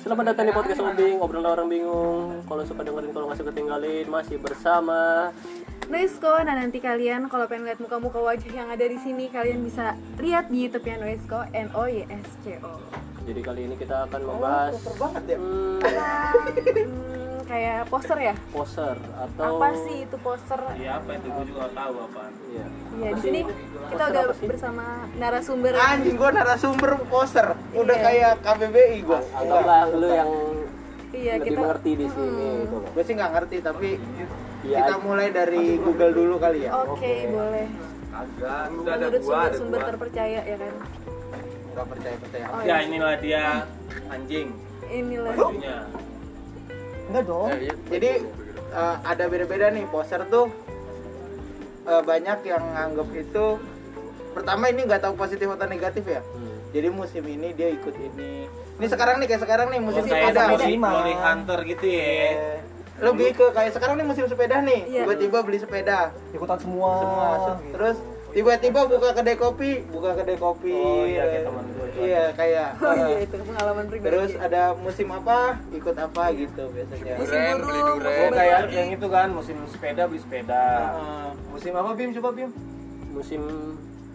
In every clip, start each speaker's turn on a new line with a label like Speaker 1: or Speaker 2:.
Speaker 1: Selamat datang di podcast Obing, obrolan orang bingung. Kalau suka dengerin, kalau nggak suka tinggalin, masih bersama.
Speaker 2: Noisco. Nah nanti kalian kalau pengen lihat muka-muka wajah yang ada di sini kalian bisa lihat di YouTube-nya Noisco N O Y S C O.
Speaker 1: Jadi kali ini kita
Speaker 3: Oh,
Speaker 1: akan membahas
Speaker 4: Kotor banget ya.
Speaker 1: hmm,
Speaker 2: Hmm, kayak poster ya?
Speaker 1: poser atau
Speaker 2: Apa sih itu poster?
Speaker 3: Iya apa itu gue juga nggak tahu apa.
Speaker 1: Iya.
Speaker 2: Ya
Speaker 1: Apa
Speaker 2: di
Speaker 1: sih?
Speaker 2: sini kita
Speaker 1: Poster
Speaker 2: udah
Speaker 1: apa sih?
Speaker 2: bersama narasumber.
Speaker 4: Anjing gua narasumber poster, udah kayak KBBI gua.
Speaker 1: anggaplah lu yang
Speaker 2: Iya
Speaker 1: lebih
Speaker 2: kita.
Speaker 1: mengerti di sini gitu loh.
Speaker 4: Gue sih nggak ngerti tapi
Speaker 1: Iya.
Speaker 4: kita mulai dari Google dulu kali ya.
Speaker 2: Oke boleh.
Speaker 3: Agak sudah ada
Speaker 2: Menurut
Speaker 3: gua ada
Speaker 2: sumber-sumber
Speaker 3: gua.
Speaker 2: terpercaya ya kan?
Speaker 4: Nggak percaya percaya.
Speaker 2: Oh,
Speaker 3: Ya
Speaker 2: iya.
Speaker 3: inilah dia anjing
Speaker 2: Inilah. Oh,
Speaker 3: bajunya.
Speaker 5: Enggak dong.
Speaker 4: Jadi eh, ada beda-beda nih poster tuh eh, banyak yang nganggep itu pertama ini nggak tahu positif atau negatif ya.
Speaker 1: Hmm.
Speaker 4: Jadi musim ini dia ikut ini. Ini sekarang nih kayak sekarang nih
Speaker 3: Oh,
Speaker 4: musim
Speaker 3: kayak
Speaker 4: sepeda.
Speaker 3: si Lonely Hunter gitu ya.
Speaker 4: Eh, Lebih ke kayak sekarang nih musim sepeda nih.
Speaker 2: Iya.
Speaker 4: Tiba-tiba beli sepeda.
Speaker 5: Ikutan semua.
Speaker 4: semua se-
Speaker 5: gitu.
Speaker 4: terus tiba-tiba buka kedai kopi buka kedai kopi
Speaker 3: Oh, iya, kayak teman gua juga.
Speaker 4: iya kayak
Speaker 2: Oh iya itu pengalaman pribadi.
Speaker 4: terus ada musim apa ikut apa gitu biasanya
Speaker 2: musim burung,
Speaker 3: Oh
Speaker 2: musim
Speaker 3: kayak
Speaker 2: berbagi.
Speaker 3: yang itu kan musim sepeda beli sepeda.
Speaker 4: Heeh.
Speaker 5: Musim apa Bim? Coba Bim.
Speaker 1: musim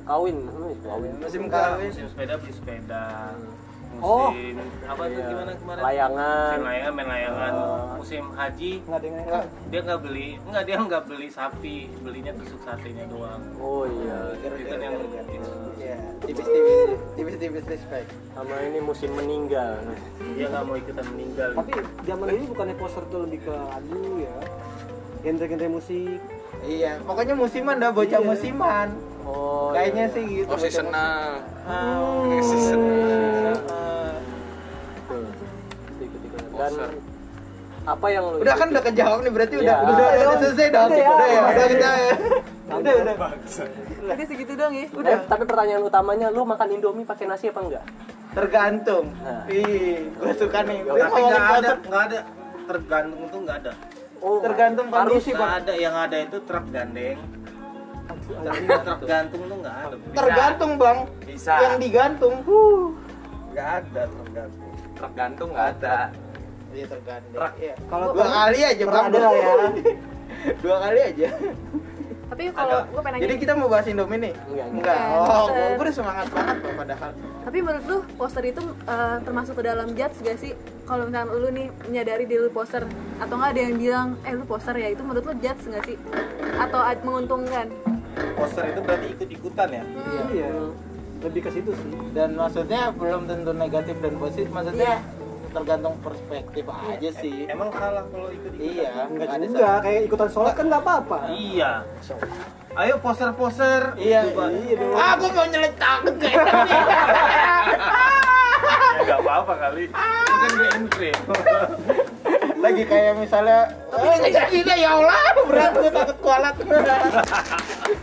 Speaker 1: kawin, Hmm, kawin.
Speaker 4: musim
Speaker 3: Enggak,
Speaker 4: kawin
Speaker 3: musim sepeda beli sepeda. Musim
Speaker 5: Oh.
Speaker 3: apa tuh
Speaker 1: Iya.
Speaker 3: gimana kemarin?
Speaker 1: Layangan.
Speaker 3: Musim layangan, main layangan. Musim haji
Speaker 5: Enggak ada yang
Speaker 4: enggak
Speaker 3: dia nggak beli, nggak dia nggak beli sapi, belinya tusuk satenya doang.
Speaker 1: Oh iya.
Speaker 3: Itu kan yang
Speaker 4: Iya, tipis-tipis tipis-tipis respect
Speaker 1: Sama ini musim meninggal.
Speaker 3: dia nggak mau ikutan meninggal.
Speaker 5: Tapi zaman ini bukannya poster tuh lebih ke lagu ya. Genre-genre musik.
Speaker 4: iya pokoknya musiman dah
Speaker 3: Iya.
Speaker 4: bocah musiman
Speaker 1: Oh.
Speaker 4: kayaknya sih gitu
Speaker 6: Oh
Speaker 4: bocah
Speaker 6: seasonal.
Speaker 4: musiman. Eh,
Speaker 6: Ini seasonal.
Speaker 4: Heeh.
Speaker 1: Betul. Ikut-ikutan. Dan apa yang lu
Speaker 4: udah kan udah kejawab nih berarti udah
Speaker 1: Iya.
Speaker 4: udah udah, udah selesai dah
Speaker 5: Udah ya.
Speaker 4: udah ya udah kita ya
Speaker 5: Udah udah.
Speaker 2: Jadi segitu doang ya.
Speaker 1: Udah, Eh, tapi pertanyaan utamanya lu makan Indomie pakai nasi apa enggak?
Speaker 4: tergantung
Speaker 1: Nah.
Speaker 4: ih gue suka nih Dia
Speaker 3: Tapi
Speaker 4: ngomongin
Speaker 3: nggak ada,
Speaker 4: poster.
Speaker 3: nggak ada tergantung tuh nggak ada.
Speaker 1: Oh,
Speaker 4: tergantung
Speaker 1: harus
Speaker 4: kondisi
Speaker 3: Nggak
Speaker 4: Iya, Pak.
Speaker 3: ada yang ada itu truk gandeng.
Speaker 4: Oh,
Speaker 3: Truk truk
Speaker 4: gitu.
Speaker 3: gantung tuh nggak ada.
Speaker 4: tergantung bang
Speaker 6: Bisa.
Speaker 4: yang digantung huh
Speaker 3: Nggak ada truk gantung.
Speaker 6: Truk gantung nggak ada.
Speaker 4: iya tergantung
Speaker 3: Truk.
Speaker 4: Iya.
Speaker 5: Kalau
Speaker 4: dua
Speaker 5: truk-
Speaker 4: kali aja
Speaker 5: truk
Speaker 4: bang
Speaker 5: ada lah ya.
Speaker 4: dua kali aja
Speaker 2: Tapi kalau gue pengen nanya.
Speaker 4: jadi kita mau bahas Indomie nih
Speaker 1: Enggak,
Speaker 4: enggak
Speaker 2: Enggak,
Speaker 4: oh
Speaker 2: poster.
Speaker 4: gue gue udah semangat banget loh padahal
Speaker 2: Tapi menurut lu poster itu eh, termasuk ke dalam judge gak sih? Kalau misalkan lu nih menyadari diri lu poster atau nggak ada yang bilang, eh lu poster ya itu menurut lu judge gak sih? Atau ad- menguntungkan?
Speaker 3: Poster itu berarti ikut ikutan ya.
Speaker 5: Iya. Lebih ke situ sih.
Speaker 4: dan maksudnya belum tentu negatif dan positif maksudnya tergantung perspektif aja sih
Speaker 3: Emang salah kalau ikut ikutan.
Speaker 4: iya
Speaker 5: Enggak
Speaker 4: nggak ada
Speaker 5: juga,
Speaker 4: salah.
Speaker 5: kayak ikutan sholat kan enggak apa-apa.
Speaker 3: Iya. Ayo poster-poster.
Speaker 4: iya
Speaker 3: Coba.
Speaker 5: Iya dong.
Speaker 4: ah gue mau nyeletak kayak
Speaker 3: Ya nggak apa-apa kali. Bukan gue entry.
Speaker 4: lagi kayak misalnya tapi
Speaker 5: eh,
Speaker 4: ini jadinya ya Allah berat gue takut kualat kan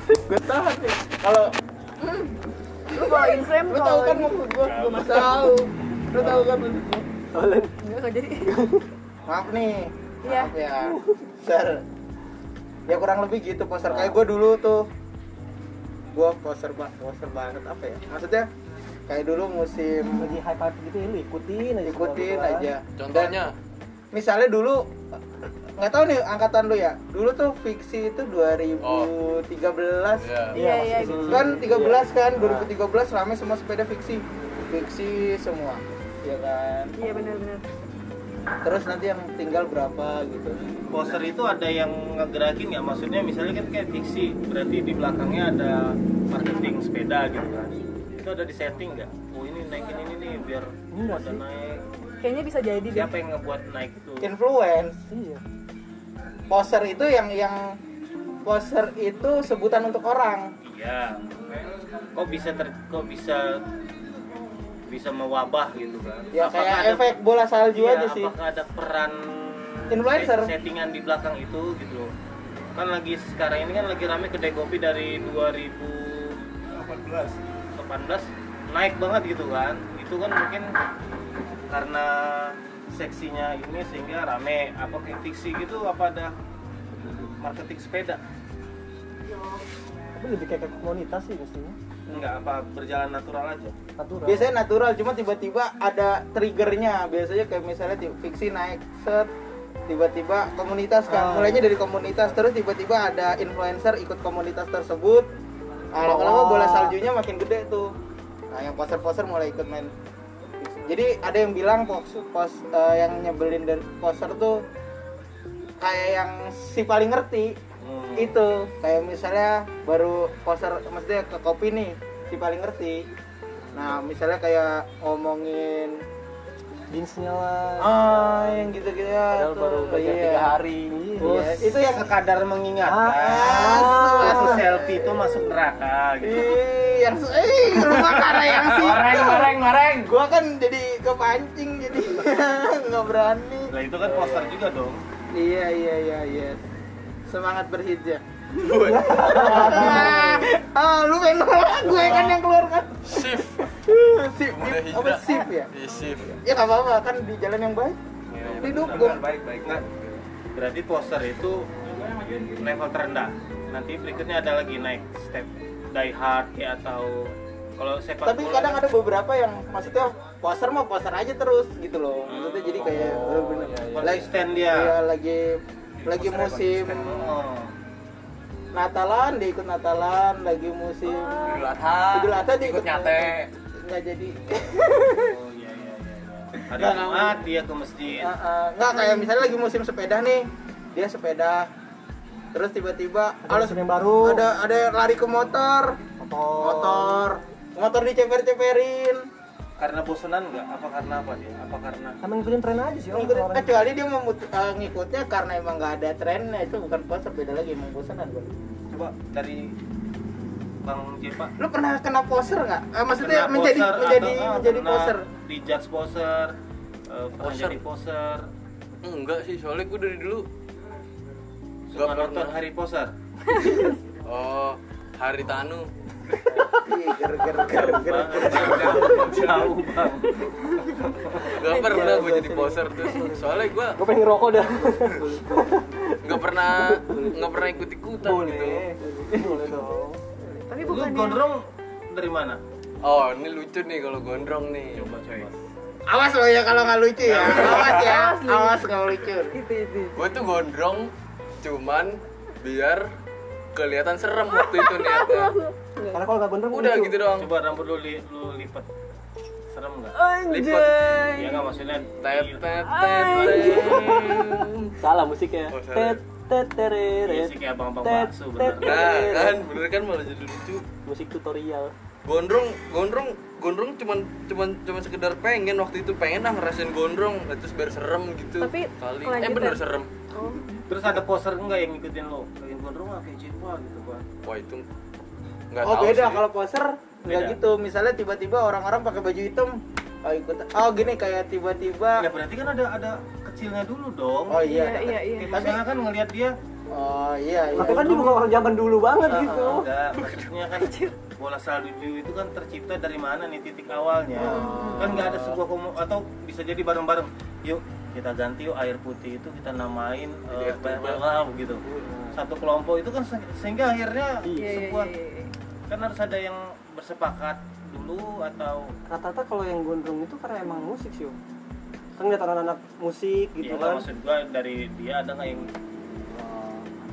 Speaker 4: gue tahan sih kalau
Speaker 2: Lu kalau inframe
Speaker 4: lu tahu
Speaker 2: kalau
Speaker 4: kan maksud gue gue masih tahu lu tahu kan maksud gue
Speaker 2: Nggak, kok jadi
Speaker 4: maaf nih
Speaker 2: Iya.
Speaker 4: maaf ya ser ya kurang lebih gitu poster kayak gue dulu tuh gue poster banget poster banget apa ya maksudnya kayak dulu musim
Speaker 5: Lagi hype-hype gitu ya lu ikutin aja.
Speaker 4: ikutin
Speaker 5: semua orang.
Speaker 4: aja
Speaker 6: Contohnya
Speaker 4: misalnya dulu nggak tahu nih angkatan lu ya dulu tuh fiksi itu 2013
Speaker 6: ya.
Speaker 2: Iya, iya
Speaker 5: masuk
Speaker 2: gitu.
Speaker 5: situ.
Speaker 4: kan 13 kan 2013 rame semua sepeda fiksi fiksi semua ya kan
Speaker 2: Iya benar-benar.
Speaker 4: terus nanti yang tinggal berapa gitu
Speaker 3: Poster itu ada yang ngegerakin ya. Maksudnya misalnya kan kayak fiksi. Berarti di belakangnya ada marketing sepeda gitu kan. Itu ada di setting nggak? Oh ini naikin ini nih biar
Speaker 4: Iya
Speaker 3: ada naik.
Speaker 2: Kayaknya bisa jadi deh.
Speaker 3: Siapa yang ngebuat naik itu?
Speaker 4: influence
Speaker 5: Iya.
Speaker 4: poser itu yang yang poser itu sebutan untuk orang
Speaker 3: Iya. Kok bisa ter, kok bisa bisa mewabah gitu kan?
Speaker 4: ya
Speaker 3: Apakah
Speaker 4: kayak
Speaker 3: ada-
Speaker 4: efek bola salju
Speaker 3: Iya,
Speaker 4: aja sih
Speaker 3: Apakah ada peran
Speaker 4: Influencer.
Speaker 3: set- settingan di belakang itu gitu loh. Kan lagi sekarang ini kan lagi rame kedai kopi dari 2018 18 naik banget gitu kan. Itu kan mungkin karena seksinya ini sehingga rame apa kayak fiksi gitu apa ada marketing sepeda
Speaker 5: Tapi lebih kayak ke komunitas sih mestinya.
Speaker 3: Enggak, apa berjalan natural aja.
Speaker 5: Natural.
Speaker 4: biasanya natural cuma tiba-tiba ada triggernya biasanya kayak misalnya ti- fiksi naik set tiba-tiba komunitas kan mulainya dari komunitas terus tiba-tiba ada influencer ikut komunitas tersebut Nah, lama-lama
Speaker 5: Wah.
Speaker 6: Oh.
Speaker 4: bola saljunya makin gede tuh nah yang poser-poser mulai ikut main fiksi. jadi ada yang bilang pos, pos eh, yang nyebelin dari poser tuh kayak yang si paling ngerti
Speaker 3: Hmm.
Speaker 4: itu kayak misalnya baru poster maksudnya ke kopi nih si paling ngerti nah misalnya kayak ngomongin
Speaker 5: Jeansnya lah.
Speaker 4: ah yang gitu-gitu ya
Speaker 6: Padahal baru
Speaker 4: tuh,
Speaker 6: belajar
Speaker 4: iya.
Speaker 6: tiga hari.
Speaker 4: Iya,
Speaker 3: Terus
Speaker 4: itu yang
Speaker 3: sekadar mengingatkan.
Speaker 4: Ah,
Speaker 3: Satu
Speaker 4: ah. Iya.
Speaker 3: selfie itu masuk neraka gitu.
Speaker 4: Ih, yang eh rumah karena yang sih
Speaker 6: mareng, mareng.
Speaker 4: gua kan jadi kepancing jadi nggak berani
Speaker 3: Nah, itu kan poster juga dong.
Speaker 4: iya iya iya iya semangat berhijrah ah lu pengen nolak gue kan yang keluar kan
Speaker 7: shift
Speaker 4: sip
Speaker 7: Udah
Speaker 4: apa
Speaker 7: hijrah.
Speaker 4: sip ya
Speaker 7: di shift
Speaker 4: ya nggak apa-apa kan di jalan yang baik
Speaker 3: Iya,
Speaker 4: hidup gue
Speaker 6: Benar, baik, baik.
Speaker 3: Nah, berarti poster itu level terendah. Nanti berikutnya ada lagi naik step die hard ya atau kalau sepak
Speaker 4: tapi
Speaker 3: bola-
Speaker 4: kadang ada beberapa yang maksudnya poser mah poser aja terus gitu loh maksudnya jadi kayak oh, bener
Speaker 3: konsisten dia.
Speaker 4: Iya, lagi lagi
Speaker 6: posernya
Speaker 4: musim
Speaker 6: konsisten.
Speaker 3: Oh.
Speaker 4: Natalan dia ikut Natalan lagi musim
Speaker 6: Idul Adha.
Speaker 4: Idul Adha dia
Speaker 6: ikut
Speaker 4: ikut
Speaker 6: nyate.
Speaker 4: nggak jadi Eh,
Speaker 3: Oh, iya, iya, iya, iya. Hari Jumat dia ke masjid.
Speaker 4: Ah, ah. nggak kayak misalnya lagi musim sepeda nih dia sepeda terus tiba-tiba
Speaker 5: Ada
Speaker 4: ada
Speaker 5: mesin yang baru.
Speaker 4: ada ada yang lari ke motor
Speaker 5: motor.
Speaker 4: motor motor diceper-ceperin
Speaker 3: Karena bosenan nggak? Apa karena apa dia? Apa karena
Speaker 5: Karena ngikutin tren aja Iya sih orang.
Speaker 4: Ngikutin-
Speaker 5: orang.
Speaker 4: kecuali dia memut, eh, ngikutnya karena emang nggak ada trennya itu bukan poser beda lagi emang bosanan gua.
Speaker 3: coba dari Bang Jepa
Speaker 4: lu pernah kena poser nggak Eh, maksudnya
Speaker 3: Pernah
Speaker 4: menjadi
Speaker 3: poser
Speaker 4: menjadi
Speaker 3: atau- ah,
Speaker 4: menjadi
Speaker 3: pernah
Speaker 4: poser
Speaker 3: dijudge poser eh, pernah
Speaker 7: Poser.
Speaker 3: jadi poser
Speaker 7: enggak sih soalnya gue dari dulu
Speaker 3: suka
Speaker 7: Nggak
Speaker 3: nonton
Speaker 7: pernah.
Speaker 3: hari poser
Speaker 7: oh hari tanu
Speaker 4: Iya, ger ger ger ger ger.
Speaker 3: jauh bang
Speaker 5: Iya,
Speaker 7: Gak pernah gue jadi poser tuh Soalnya gue
Speaker 5: Gue pengen ngerokok dah.
Speaker 7: gak pernah gak pernah ikut ikutan gitu
Speaker 5: Boleh dong.
Speaker 2: tapi
Speaker 3: lu
Speaker 2: bukan
Speaker 3: gondrong dari mana
Speaker 7: Oh ini lucu nih kalau gondrong nih
Speaker 3: coba coy
Speaker 4: awas lo ya kalau nggak lucu ya awas ya
Speaker 2: Asli.
Speaker 4: awas nggak lucu
Speaker 2: itu itu
Speaker 7: Gue tuh gondrong cuman biar kelihatan serem waktu itu niatnya
Speaker 5: Karena kalau nggak gondrong
Speaker 7: Udah
Speaker 5: lucu.
Speaker 7: gitu doang
Speaker 3: coba rambut lu, li- lu lipet serem nggak
Speaker 7: Lipet
Speaker 3: ya nggak maksudnya
Speaker 7: Tet
Speaker 3: di-
Speaker 7: tet tet tet.
Speaker 1: Salah musiknya.
Speaker 7: Oh, salah.
Speaker 1: Tet tet
Speaker 3: iya
Speaker 1: tereret.
Speaker 3: sih kayak abang-abang
Speaker 1: Tet,
Speaker 3: bakso
Speaker 1: tet.
Speaker 3: bener
Speaker 7: Nah kan bener kan malah jadi lucu
Speaker 1: Musik tutorial.
Speaker 7: gondrong gondrong gondrong cuman cuman cuman sekedar pengen waktu itu pengen lah ngerasain gondrong nah, terus biar serem gitu
Speaker 2: Tapi
Speaker 7: kali eh
Speaker 2: kelanjutan.
Speaker 7: bener serem
Speaker 2: oh
Speaker 3: terus ada poser enggak yang ngikutin lo kayak gondrong apa kayak Jepa gitu bang
Speaker 7: wah itu nggak
Speaker 4: oh
Speaker 7: tahu
Speaker 4: beda
Speaker 7: sih.
Speaker 4: kalau poser nggak
Speaker 3: Beda.
Speaker 4: gitu misalnya tiba-tiba orang-orang pakai baju hitam oh ikut oh gini
Speaker 3: ya
Speaker 4: kayak tiba-tiba
Speaker 3: berarti kan ada ada kecilnya dulu dong
Speaker 4: oh
Speaker 2: iya
Speaker 4: iya
Speaker 2: iya iya
Speaker 3: Kayak misalnya kan ngelihat dia
Speaker 4: oh iya iya
Speaker 5: Tapi kan dia bukan orang zaman dulu banget gitu.
Speaker 3: enggak maksudnya kan bola salju itu kan tercipta dari mana nih titik awalnya kan nggak ada sebuah komo atau bisa jadi bareng-bareng yuk kita ganti yuk air putih itu kita namain eh, bla- bla- bla gitu satu kelompok itu kan se- sehingga akhirnya
Speaker 2: iya iya
Speaker 3: sebuah
Speaker 2: iya, iya.
Speaker 3: kan harus ada yang bersepakat dulu atau
Speaker 5: Rata-rata kalau yang gondrong itu karena emang musik sih. Om. Kan ngeliat anak-anak musik
Speaker 3: gitu
Speaker 5: gitu kan.
Speaker 3: maksud gua dari dia ada nggak yang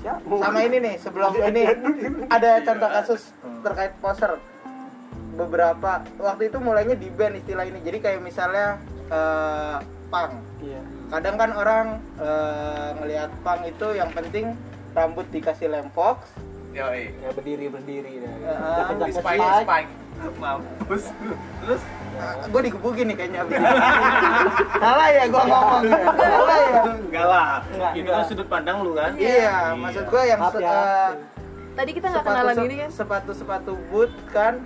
Speaker 5: Ya,
Speaker 4: sama ini nih sebelum ini ada contoh kasus terkait poser beberapa waktu itu mulainya di ban istilah ini jadi kayak misalnya eh, pang
Speaker 5: Iya.
Speaker 4: kadang kan orang eh, ngelihat pang itu yang penting rambut dikasih lempox
Speaker 6: Yoi.
Speaker 5: Ya berdiri berdiri dah.
Speaker 1: Iya.
Speaker 4: Eh,
Speaker 6: Di
Speaker 5: Jaket-jaket
Speaker 6: Spike,
Speaker 5: spike.
Speaker 6: spike.
Speaker 3: mampus terus
Speaker 4: gue digebukin nih kayaknya abis ini. salah ya gue ngomong ya? salah ya
Speaker 3: enggak lah
Speaker 4: Enggak,
Speaker 3: itu
Speaker 4: enggak.
Speaker 3: kan sudut pandang lu kan
Speaker 4: iya maksud gue yang
Speaker 5: Maaf
Speaker 4: se-
Speaker 5: ya.
Speaker 4: eh,
Speaker 2: tadi kita nggak
Speaker 4: sepatu
Speaker 2: kenalan gini kan
Speaker 4: sepatu sepatu boot kan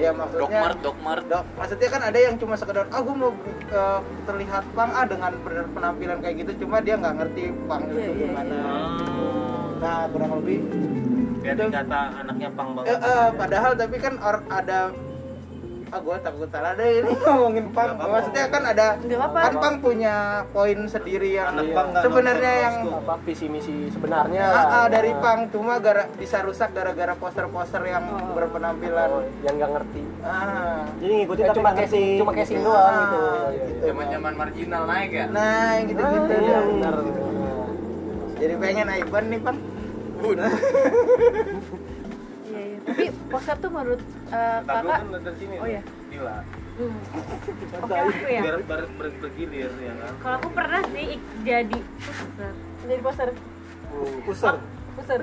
Speaker 4: ya maksudnya
Speaker 7: dokmart dokmart
Speaker 4: Dok, maksudnya kan ada yang cuma sekedar ah gua mau eh, terlihat pang ah dengan ber- penampilan kayak gitu cuma dia nggak ngerti pang
Speaker 2: Iya,
Speaker 4: itu
Speaker 2: iya,
Speaker 4: gimana
Speaker 3: Hmm.
Speaker 4: nah kurang lebih
Speaker 3: Biar dikata anaknya pang
Speaker 4: eh,
Speaker 3: banget.
Speaker 4: eh, padahal tapi kan or- ada ah gue takut salah deh ini ngomongin pang maksudnya kan ada
Speaker 2: Nggak apa-apa.
Speaker 4: kan pang punya poin sendiri yang
Speaker 3: Anak pang nggak
Speaker 4: sebenarnya
Speaker 3: nonton
Speaker 4: yang
Speaker 3: Osco.
Speaker 1: apa visi misi sebenarnya lah.
Speaker 4: Ah, ah, dari pang cuma gara bisa rusak gara-gara poster-poster yang
Speaker 1: Oh,
Speaker 4: berpenampilan
Speaker 1: yang nggak ngerti
Speaker 4: ah
Speaker 5: Jadi ngikutin
Speaker 1: Eh,
Speaker 5: tapi
Speaker 1: cuma
Speaker 5: nggak
Speaker 1: casing
Speaker 5: ngerti.
Speaker 1: cuma casing doang gitu
Speaker 4: Ah,
Speaker 1: Iya,
Speaker 4: gitu.
Speaker 1: iya.
Speaker 6: Zaman-zaman marginal naik ya.
Speaker 4: nah yang gitu-gitu
Speaker 1: iya
Speaker 4: dia.
Speaker 1: benar
Speaker 4: jadi pengen Iban nih pang
Speaker 2: Iya, iya. Tapi poster tuh menurut eh,
Speaker 3: Ntar dulu
Speaker 2: kakak
Speaker 3: kan dari sini.
Speaker 2: Oh, iya.
Speaker 3: Gila.
Speaker 8: Hmm. Oke aku ya.
Speaker 3: Biar ber, ber, bergilir ya kan.
Speaker 8: Kalau aku pernah sih ik- jadi poster.
Speaker 2: jadi poster
Speaker 5: Pusar.
Speaker 2: poster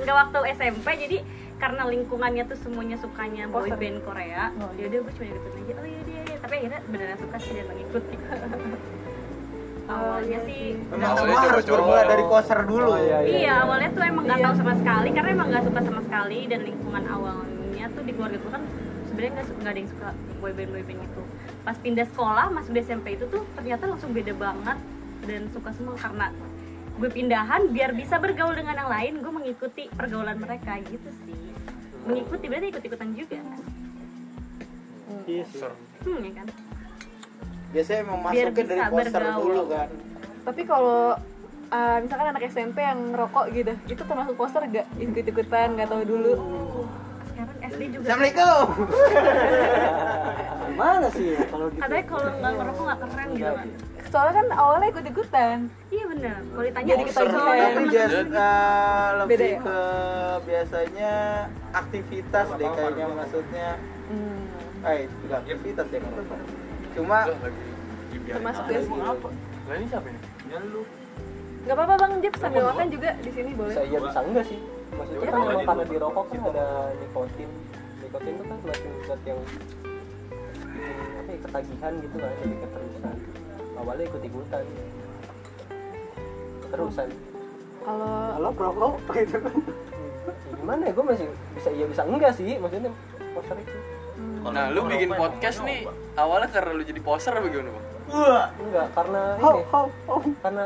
Speaker 8: Udah waktu SMP jadi karena lingkungannya tuh semuanya sukanya boy
Speaker 2: Poster.
Speaker 8: band Korea. Ya udah gue cuma ikutin aja. Oh iya iya iya. Tapi akhirnya beneran suka sih dan mengikuti. Awalnya Oh, iya sih
Speaker 4: memang
Speaker 7: Awalnya
Speaker 4: semua harus
Speaker 7: coba-coba.
Speaker 4: bermula dari poster dulu
Speaker 8: Iya, awalnya tuh emang nggak tahu sama sekali karena emang nggak suka sama sekali dan lingkungan awalnya tuh di keluarga gue kan sebenarnya nggak su- nggak ada yang suka boyband boyband itu. Pas pindah sekolah masuk di SMP itu tuh ternyata langsung beda banget dan suka semua karena gue pindahan biar bisa bergaul dengan yang lain gue mengikuti pergaulan mereka gitu sih mengikuti berarti ikut ikutan juga kan
Speaker 5: Iya sih.
Speaker 8: hmm ya kan
Speaker 4: biasanya emang
Speaker 8: Biar
Speaker 4: masuknya
Speaker 8: bisa
Speaker 4: dari poster
Speaker 8: bergaul.
Speaker 4: dulu kan
Speaker 2: tapi kalau eh, misalkan anak SMP yang ngerokok gitu itu termasuk poster gak ikut ikutan nggak tahu dulu
Speaker 8: sekarang SD juga
Speaker 4: assalamualaikum
Speaker 5: Gimana sih ya kalau gitu?
Speaker 8: katanya kalau nggak ngerokok nggak keren gitu kan
Speaker 2: soalnya kan awalnya ikut ikutan
Speaker 8: iya bener kalau ditanya
Speaker 2: Jadi
Speaker 8: "Poster
Speaker 2: ketagihan."
Speaker 8: doang,
Speaker 4: tapi
Speaker 8: temen-temen
Speaker 4: just,
Speaker 8: gitu.
Speaker 4: uh,
Speaker 2: Beda
Speaker 4: lebih
Speaker 2: ya?
Speaker 4: ke biasanya aktivitas deh kayaknya maksudnya
Speaker 1: Hmm,
Speaker 4: eh enggak aktivitas ya kan cuma
Speaker 2: termasuk
Speaker 1: ya?
Speaker 2: gak sih
Speaker 7: Lah ini siapa ini? Ya,
Speaker 2: nggak apa-apa bang Jep sambil makan juga di sini
Speaker 1: bisa
Speaker 2: boleh
Speaker 1: iya bisa enggak sih maksudnya
Speaker 2: Iya
Speaker 1: kan
Speaker 2: kan?
Speaker 1: emang karena di rokok kan ada nikotin nikotin itu kan masih zat yang bikin apa ya, ketagihan gitu kan jadi keterusan awalnya ikut ikutan keterusan
Speaker 2: kalau
Speaker 5: Kalau perokok gitu kan.
Speaker 1: Ya gimana ya gue masih bisa iya bisa enggak sih maksudnya oh, poster itu
Speaker 7: Nah, lu bikin podcast nih awalnya karena lu jadi poser apa gimana, Bang?
Speaker 1: enggak karena
Speaker 5: Ho
Speaker 1: ini
Speaker 5: ho ho.
Speaker 1: karena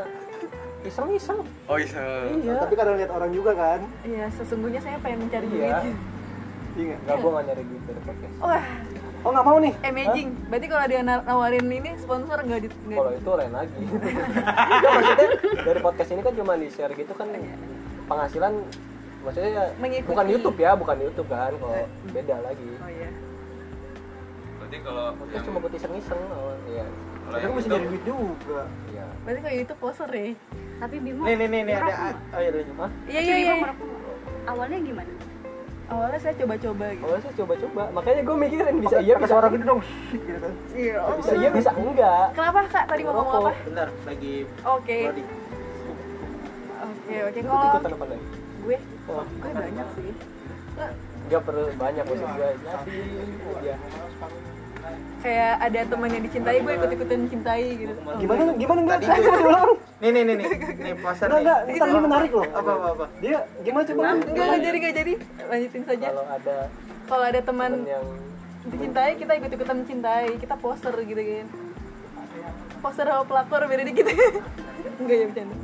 Speaker 1: iseng iseng
Speaker 7: Oh, iya.
Speaker 1: iya
Speaker 5: Tapi kadang lihat orang juga kan.
Speaker 2: ya sesungguhnya saya pengen
Speaker 1: iya
Speaker 2: mencari duit
Speaker 5: Iya. nggak?
Speaker 1: enggak gue nggak nyari duit dari podcast
Speaker 2: wah
Speaker 5: Oh, nggak mau nih.
Speaker 2: amazing berarti kalau dia na- nawarin ini sponsor nggak di nggak
Speaker 1: kalau
Speaker 5: Gitu.
Speaker 2: di-
Speaker 1: itu lain lagi Enggak, maksudnya dari podcast ini kan cuma di share gitu kan
Speaker 5: Iya.
Speaker 1: penghasilan maksudnya
Speaker 2: Mengikuti.
Speaker 1: bukan YouTube ya bukan YouTube kan kalau
Speaker 5: Iya.
Speaker 1: beda lagi
Speaker 2: oh iya
Speaker 6: Berarti kalau
Speaker 5: Iya.
Speaker 1: podcast cuma buat iseng iseng awal ya
Speaker 6: kalau
Speaker 5: Tapi mesti nyari duit juga.
Speaker 1: ya
Speaker 2: berarti kalau itu poster ya
Speaker 1: Iya,
Speaker 8: tapi Bimo
Speaker 4: nih nih nih nih ada
Speaker 8: ngerokok nggak?
Speaker 4: oh iya lu juga.
Speaker 2: iya
Speaker 8: Tapi
Speaker 2: iya iya
Speaker 8: Bimo ngerokok nggak? awalnya gimana
Speaker 2: awalnya saya coba-coba gitu
Speaker 1: awalnya saya coba coba makanya gue mikirin bisa iya bisa suara
Speaker 5: gitu dong.
Speaker 2: iya
Speaker 1: bisa iya bisa enggak
Speaker 2: kenapa kak tadi mau ngomong apa
Speaker 1: Ngerokok.
Speaker 4: bentar lagi
Speaker 2: oke
Speaker 4: loading
Speaker 2: oke oke
Speaker 1: ikut
Speaker 2: kalau
Speaker 1: ikutan apa lagi
Speaker 2: gue gue banyak sih
Speaker 1: Gak perlu banyak maksud gue
Speaker 5: Iya.
Speaker 1: ngasih aja
Speaker 2: kayak ada teman yang dicintai gue ikut ikutan cintai gitu
Speaker 5: Gimana gimana enggak?
Speaker 4: Tadi
Speaker 5: Coba diulang.
Speaker 4: nih nih nih nih nih poster
Speaker 5: Enggak enggak,
Speaker 4: nih
Speaker 5: ntar ini menarik loh.
Speaker 4: apa apa apa
Speaker 5: Dia gimana coba?
Speaker 2: enggak enggak jadi enggak jadi lanjutin saja
Speaker 1: kalau ada
Speaker 2: kalau ada
Speaker 1: temen
Speaker 2: teman
Speaker 1: yang
Speaker 2: dicintai kita ikut ikutan mencintai kita poster gitu kan poster sama pelakor beda dikit enggak ya bercanda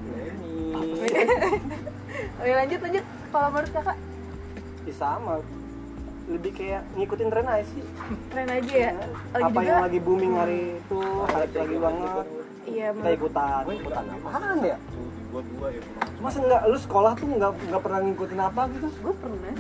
Speaker 2: oke lanjut lanjut kalau menurut kakak
Speaker 5: Ya, sama. Lebih kayak ngikutin tren aja sih.
Speaker 2: tren aja ya lagi
Speaker 5: Apa
Speaker 2: juga
Speaker 5: yang lagi booming hari itu,
Speaker 4: Oh,
Speaker 5: hype lagi
Speaker 4: iya,
Speaker 5: banget.
Speaker 2: iya
Speaker 5: Kita
Speaker 2: menurut
Speaker 5: ikutan.
Speaker 1: ikutan apaan ya
Speaker 3: ya,
Speaker 5: Masa enggak lu sekolah tuh enggak enggak pernah ngikutin apa gitu?
Speaker 2: gue pernah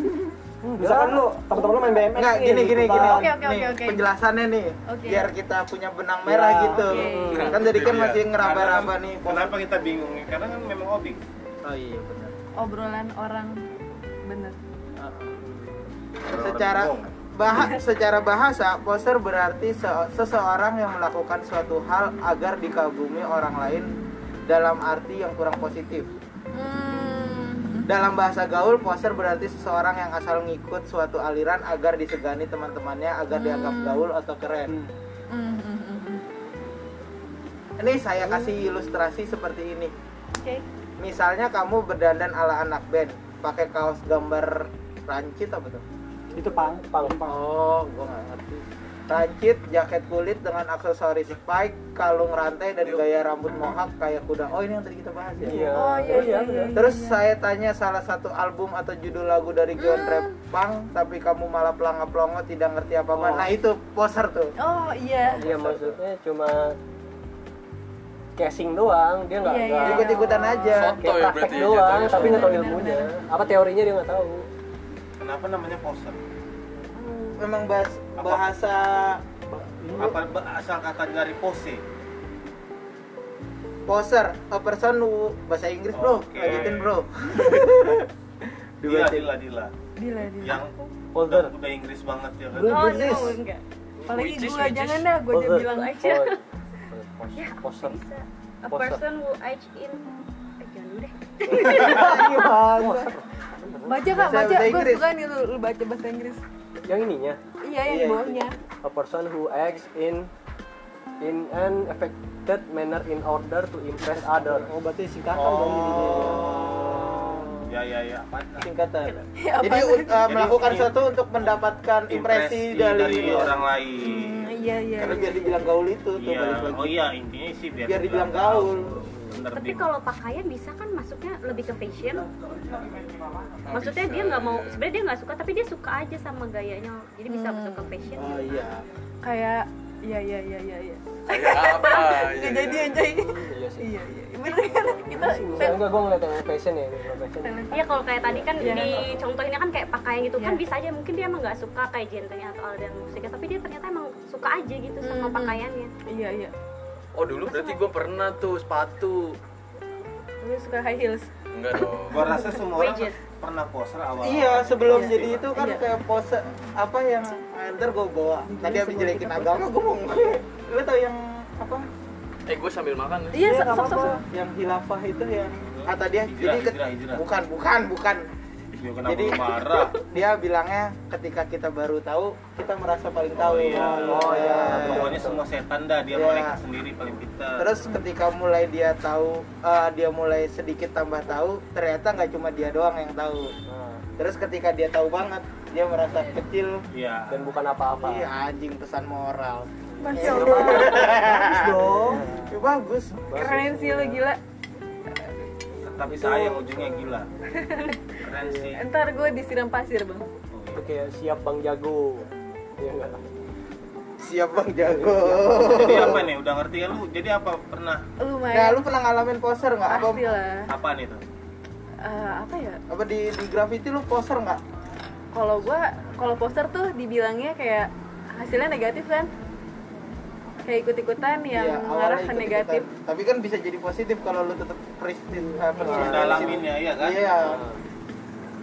Speaker 5: Misalkan lu teman-teman lu main BMX
Speaker 4: Enggak, gini gini gini.
Speaker 5: eh, ikutan.
Speaker 2: Oke, oke,
Speaker 4: Nih,
Speaker 2: oke, oke.
Speaker 4: Penjelasannya nih,
Speaker 2: Oke.
Speaker 4: biar kita punya benang merah
Speaker 5: Ya,
Speaker 4: gitu.
Speaker 2: oke.
Speaker 4: Kan tadi kan
Speaker 7: Iya.
Speaker 4: masih ngeraba-raba nih.
Speaker 3: Kenapa kita bingung? Karena kan memang hobi.
Speaker 4: Oh iya benar.
Speaker 2: obrolan orang bener
Speaker 4: Secara bahas secara bahasa, poster berarti se- seseorang yang melakukan suatu hal agar dikagumi orang lain dalam arti yang kurang positif.
Speaker 2: hmm.
Speaker 4: Dalam bahasa gaul, poser berarti seseorang yang asal ngikut suatu aliran agar disegani teman-temannya agar dianggap
Speaker 5: Hmm.
Speaker 4: gaul atau keren.
Speaker 2: Hmm, hmm, hmm, hmm.
Speaker 4: Ini saya kasih ilustrasi seperti ini.
Speaker 2: oke
Speaker 4: Misalnya kamu berdandan ala anak band, pakai kaos gambar rancit apa tuh?
Speaker 5: Itu pang, pang, pang.
Speaker 4: Oh, gua nggak ngerti. Rancit, jaket kulit dengan aksesoris spike, kalung rantai dan gaya rambut mohawk kayak kuda. Oh ini yang tadi kita bahas ya.
Speaker 1: Iya.
Speaker 2: Oh, iya,
Speaker 1: Terus-
Speaker 2: iya, iya.
Speaker 4: Terus saya tanya salah satu album atau judul lagu dari genre rap punk, tapi kamu malah pelanga-pelongo tidak ngerti apa-apa. Nah itu poser tuh.
Speaker 2: Oh iya.
Speaker 1: Iya maksudnya cuma casing doang, dia nggak
Speaker 2: Iya,
Speaker 1: nggak-
Speaker 2: iya.
Speaker 4: Ikut-ikutan aja.
Speaker 7: Soto ya
Speaker 1: kayak praktek
Speaker 7: berarti ya
Speaker 1: doang,
Speaker 7: jatuhnya.
Speaker 1: tapi nggak tahu ilmunya. Apa teorinya dia nggak tahu.
Speaker 3: Kenapa namanya poser?
Speaker 4: Memang bahas, bahasa
Speaker 3: Apa ba- asal kata dari pose?
Speaker 4: poser, a person who- bahasa Inggris bro,
Speaker 3: Oke.
Speaker 4: lanjutin bro.
Speaker 3: Dila, dila, Iya, dila.
Speaker 2: Gila dia.
Speaker 3: Yang
Speaker 1: Poser.
Speaker 3: udah, udah Inggris banget ya kan?
Speaker 4: Bro,
Speaker 8: Oh
Speaker 4: this
Speaker 8: no,
Speaker 4: is-
Speaker 8: enggak.
Speaker 2: Apalagi
Speaker 7: Which is-
Speaker 2: gue
Speaker 7: which
Speaker 2: jangan
Speaker 7: is-
Speaker 2: dah, gue udah
Speaker 1: Poser.
Speaker 2: bilang "Eh, aja.
Speaker 1: Oh, pos-
Speaker 2: Iya,
Speaker 8: Ya,
Speaker 1: Poser.
Speaker 8: bisa. A
Speaker 1: Poser.
Speaker 8: person who age in eh, jangan dulu deh.
Speaker 2: Baca kak,
Speaker 4: Bahasa-
Speaker 2: baca.
Speaker 4: bahasa
Speaker 2: Gue
Speaker 4: Inggris.
Speaker 2: suka nih lu, lu baca bahasa Inggris.
Speaker 1: Yang ininya,
Speaker 2: Iya yang
Speaker 4: Iya,
Speaker 2: di bawahnya.
Speaker 1: a person who acts in in an affected manner in order to impress others.
Speaker 5: Oh, berarti singkatan dong ini.
Speaker 3: Ya, ya, ya. Apa?
Speaker 4: Singkatan.
Speaker 2: Ya, apa?
Speaker 4: Jadi uh, melakukan
Speaker 3: i-
Speaker 4: sesuatu untuk mendapatkan impresi dari,
Speaker 3: orang lain.
Speaker 2: Hmm, Iya iya.
Speaker 4: Karena biar dibilang gaul itu tuh
Speaker 3: Iya.
Speaker 4: balik lagi.
Speaker 3: Oh iya, intinya sih biar,
Speaker 4: Biar dibilang gaul.
Speaker 3: Bener,
Speaker 8: Tapi
Speaker 3: Bim.
Speaker 8: kalau pakaian bisa kan masuknya lebih ke fashion. Maksudnya dia nggak mau, sebenarnya dia nggak suka, tapi dia suka aja sama gayanya. Jadi bisa masuk ke fashion.
Speaker 4: Oh iya.
Speaker 2: Kayak iya iya iya iya. iya.
Speaker 7: Kayak apa? Iya,
Speaker 2: Nggak jadi aja ini.
Speaker 1: Iya sih.
Speaker 2: Iya iya. Bener kan kita
Speaker 4: Iya,
Speaker 1: Enggak, enggak gue ngeliat yang fashion ya, yang fashion.
Speaker 8: Iya kalau kayak tadi kan
Speaker 2: Iya.
Speaker 8: di contohnya kan kayak pakaian gitu kan
Speaker 2: Iya.
Speaker 8: bisa aja mungkin dia emang nggak suka kayak genrenya atau aliran musiknya tapi dia ternyata emang suka aja gitu sama
Speaker 2: Mhm.
Speaker 8: pakaiannya.
Speaker 2: Iya iya.
Speaker 7: Oh dulu berarti gue pernah tuh sepatu.
Speaker 2: Gue suka high heels.
Speaker 7: Enggak dong.
Speaker 3: Gua rasa semua orang
Speaker 8: Wages.
Speaker 3: pernah gitu. poser awal.
Speaker 4: Iya, sebelum
Speaker 2: Iya.
Speaker 4: jadi itu kan
Speaker 2: Iya.
Speaker 4: kayak pose apa yang ah, ntar gue bawa. Tadi habis jelekin agama gue mau. Lu tau yang apa?
Speaker 7: Eh gue sambil makan ya.
Speaker 2: Iya,
Speaker 4: nggak
Speaker 2: sok sok
Speaker 4: apa-apa.
Speaker 2: sok.
Speaker 4: Yang hilafah itu yang kata dia.
Speaker 3: Hijrah,
Speaker 4: Jadi ke-
Speaker 3: hijrah, hijrah.
Speaker 4: bukan, bukan, bukan.
Speaker 3: Ya, kenapa
Speaker 4: Jadi-
Speaker 3: lu marah?
Speaker 4: Dia bilangnya ketika kita baru tahu, kita merasa paling tahu.
Speaker 3: Oh iya. Pokoknya semua setan dah dia
Speaker 4: Iya.
Speaker 3: mereka sendiri paling pintar.
Speaker 4: Terus ketika mulai dia tahu, eh, dia mulai sedikit tambah tahu, ternyata nggak cuma dia doang yang tahu.
Speaker 1: Nah,
Speaker 4: Terus ketika dia tahu banget, dia merasa kecil.
Speaker 3: iya.
Speaker 1: dan bukan apa-apa.
Speaker 4: Iya anjing pesan moral. Iya,
Speaker 2: Masya Allah.
Speaker 4: Bagus dong. Ya, bagus.
Speaker 2: Keren sih lu gila.
Speaker 3: Tapi sayang ujungnya gila. Keren sih.
Speaker 2: Ntar gue disiram pasir bang.
Speaker 1: Itu kayak siap Bang Jago. Iya enggak?
Speaker 4: Siap bang jago.
Speaker 3: Jadi apa nih? Udah ngerti kan lu? Jadi apa pernah
Speaker 4: Nah
Speaker 2: Lumayan.
Speaker 4: lu pernah ngalamin poser nggak? Apa,
Speaker 2: Pasti lah.
Speaker 3: apaan itu?
Speaker 2: Eh, apa ya?
Speaker 4: apa di, di graffiti lu poser nggak?
Speaker 2: Kalau gue, kalau poster tuh dibilangnya kayak hasilnya negatif kan? Kayak ikut-ikutan yang
Speaker 4: Iya,
Speaker 2: mengarah ke
Speaker 4: ikut-ikutan.
Speaker 2: negatif. Iya.
Speaker 4: Tapi kan bisa jadi positif kalau lu tetap persistin. eh, persisten di
Speaker 3: Dalamin
Speaker 4: situ.
Speaker 3: ya, iya kan?
Speaker 4: Iya.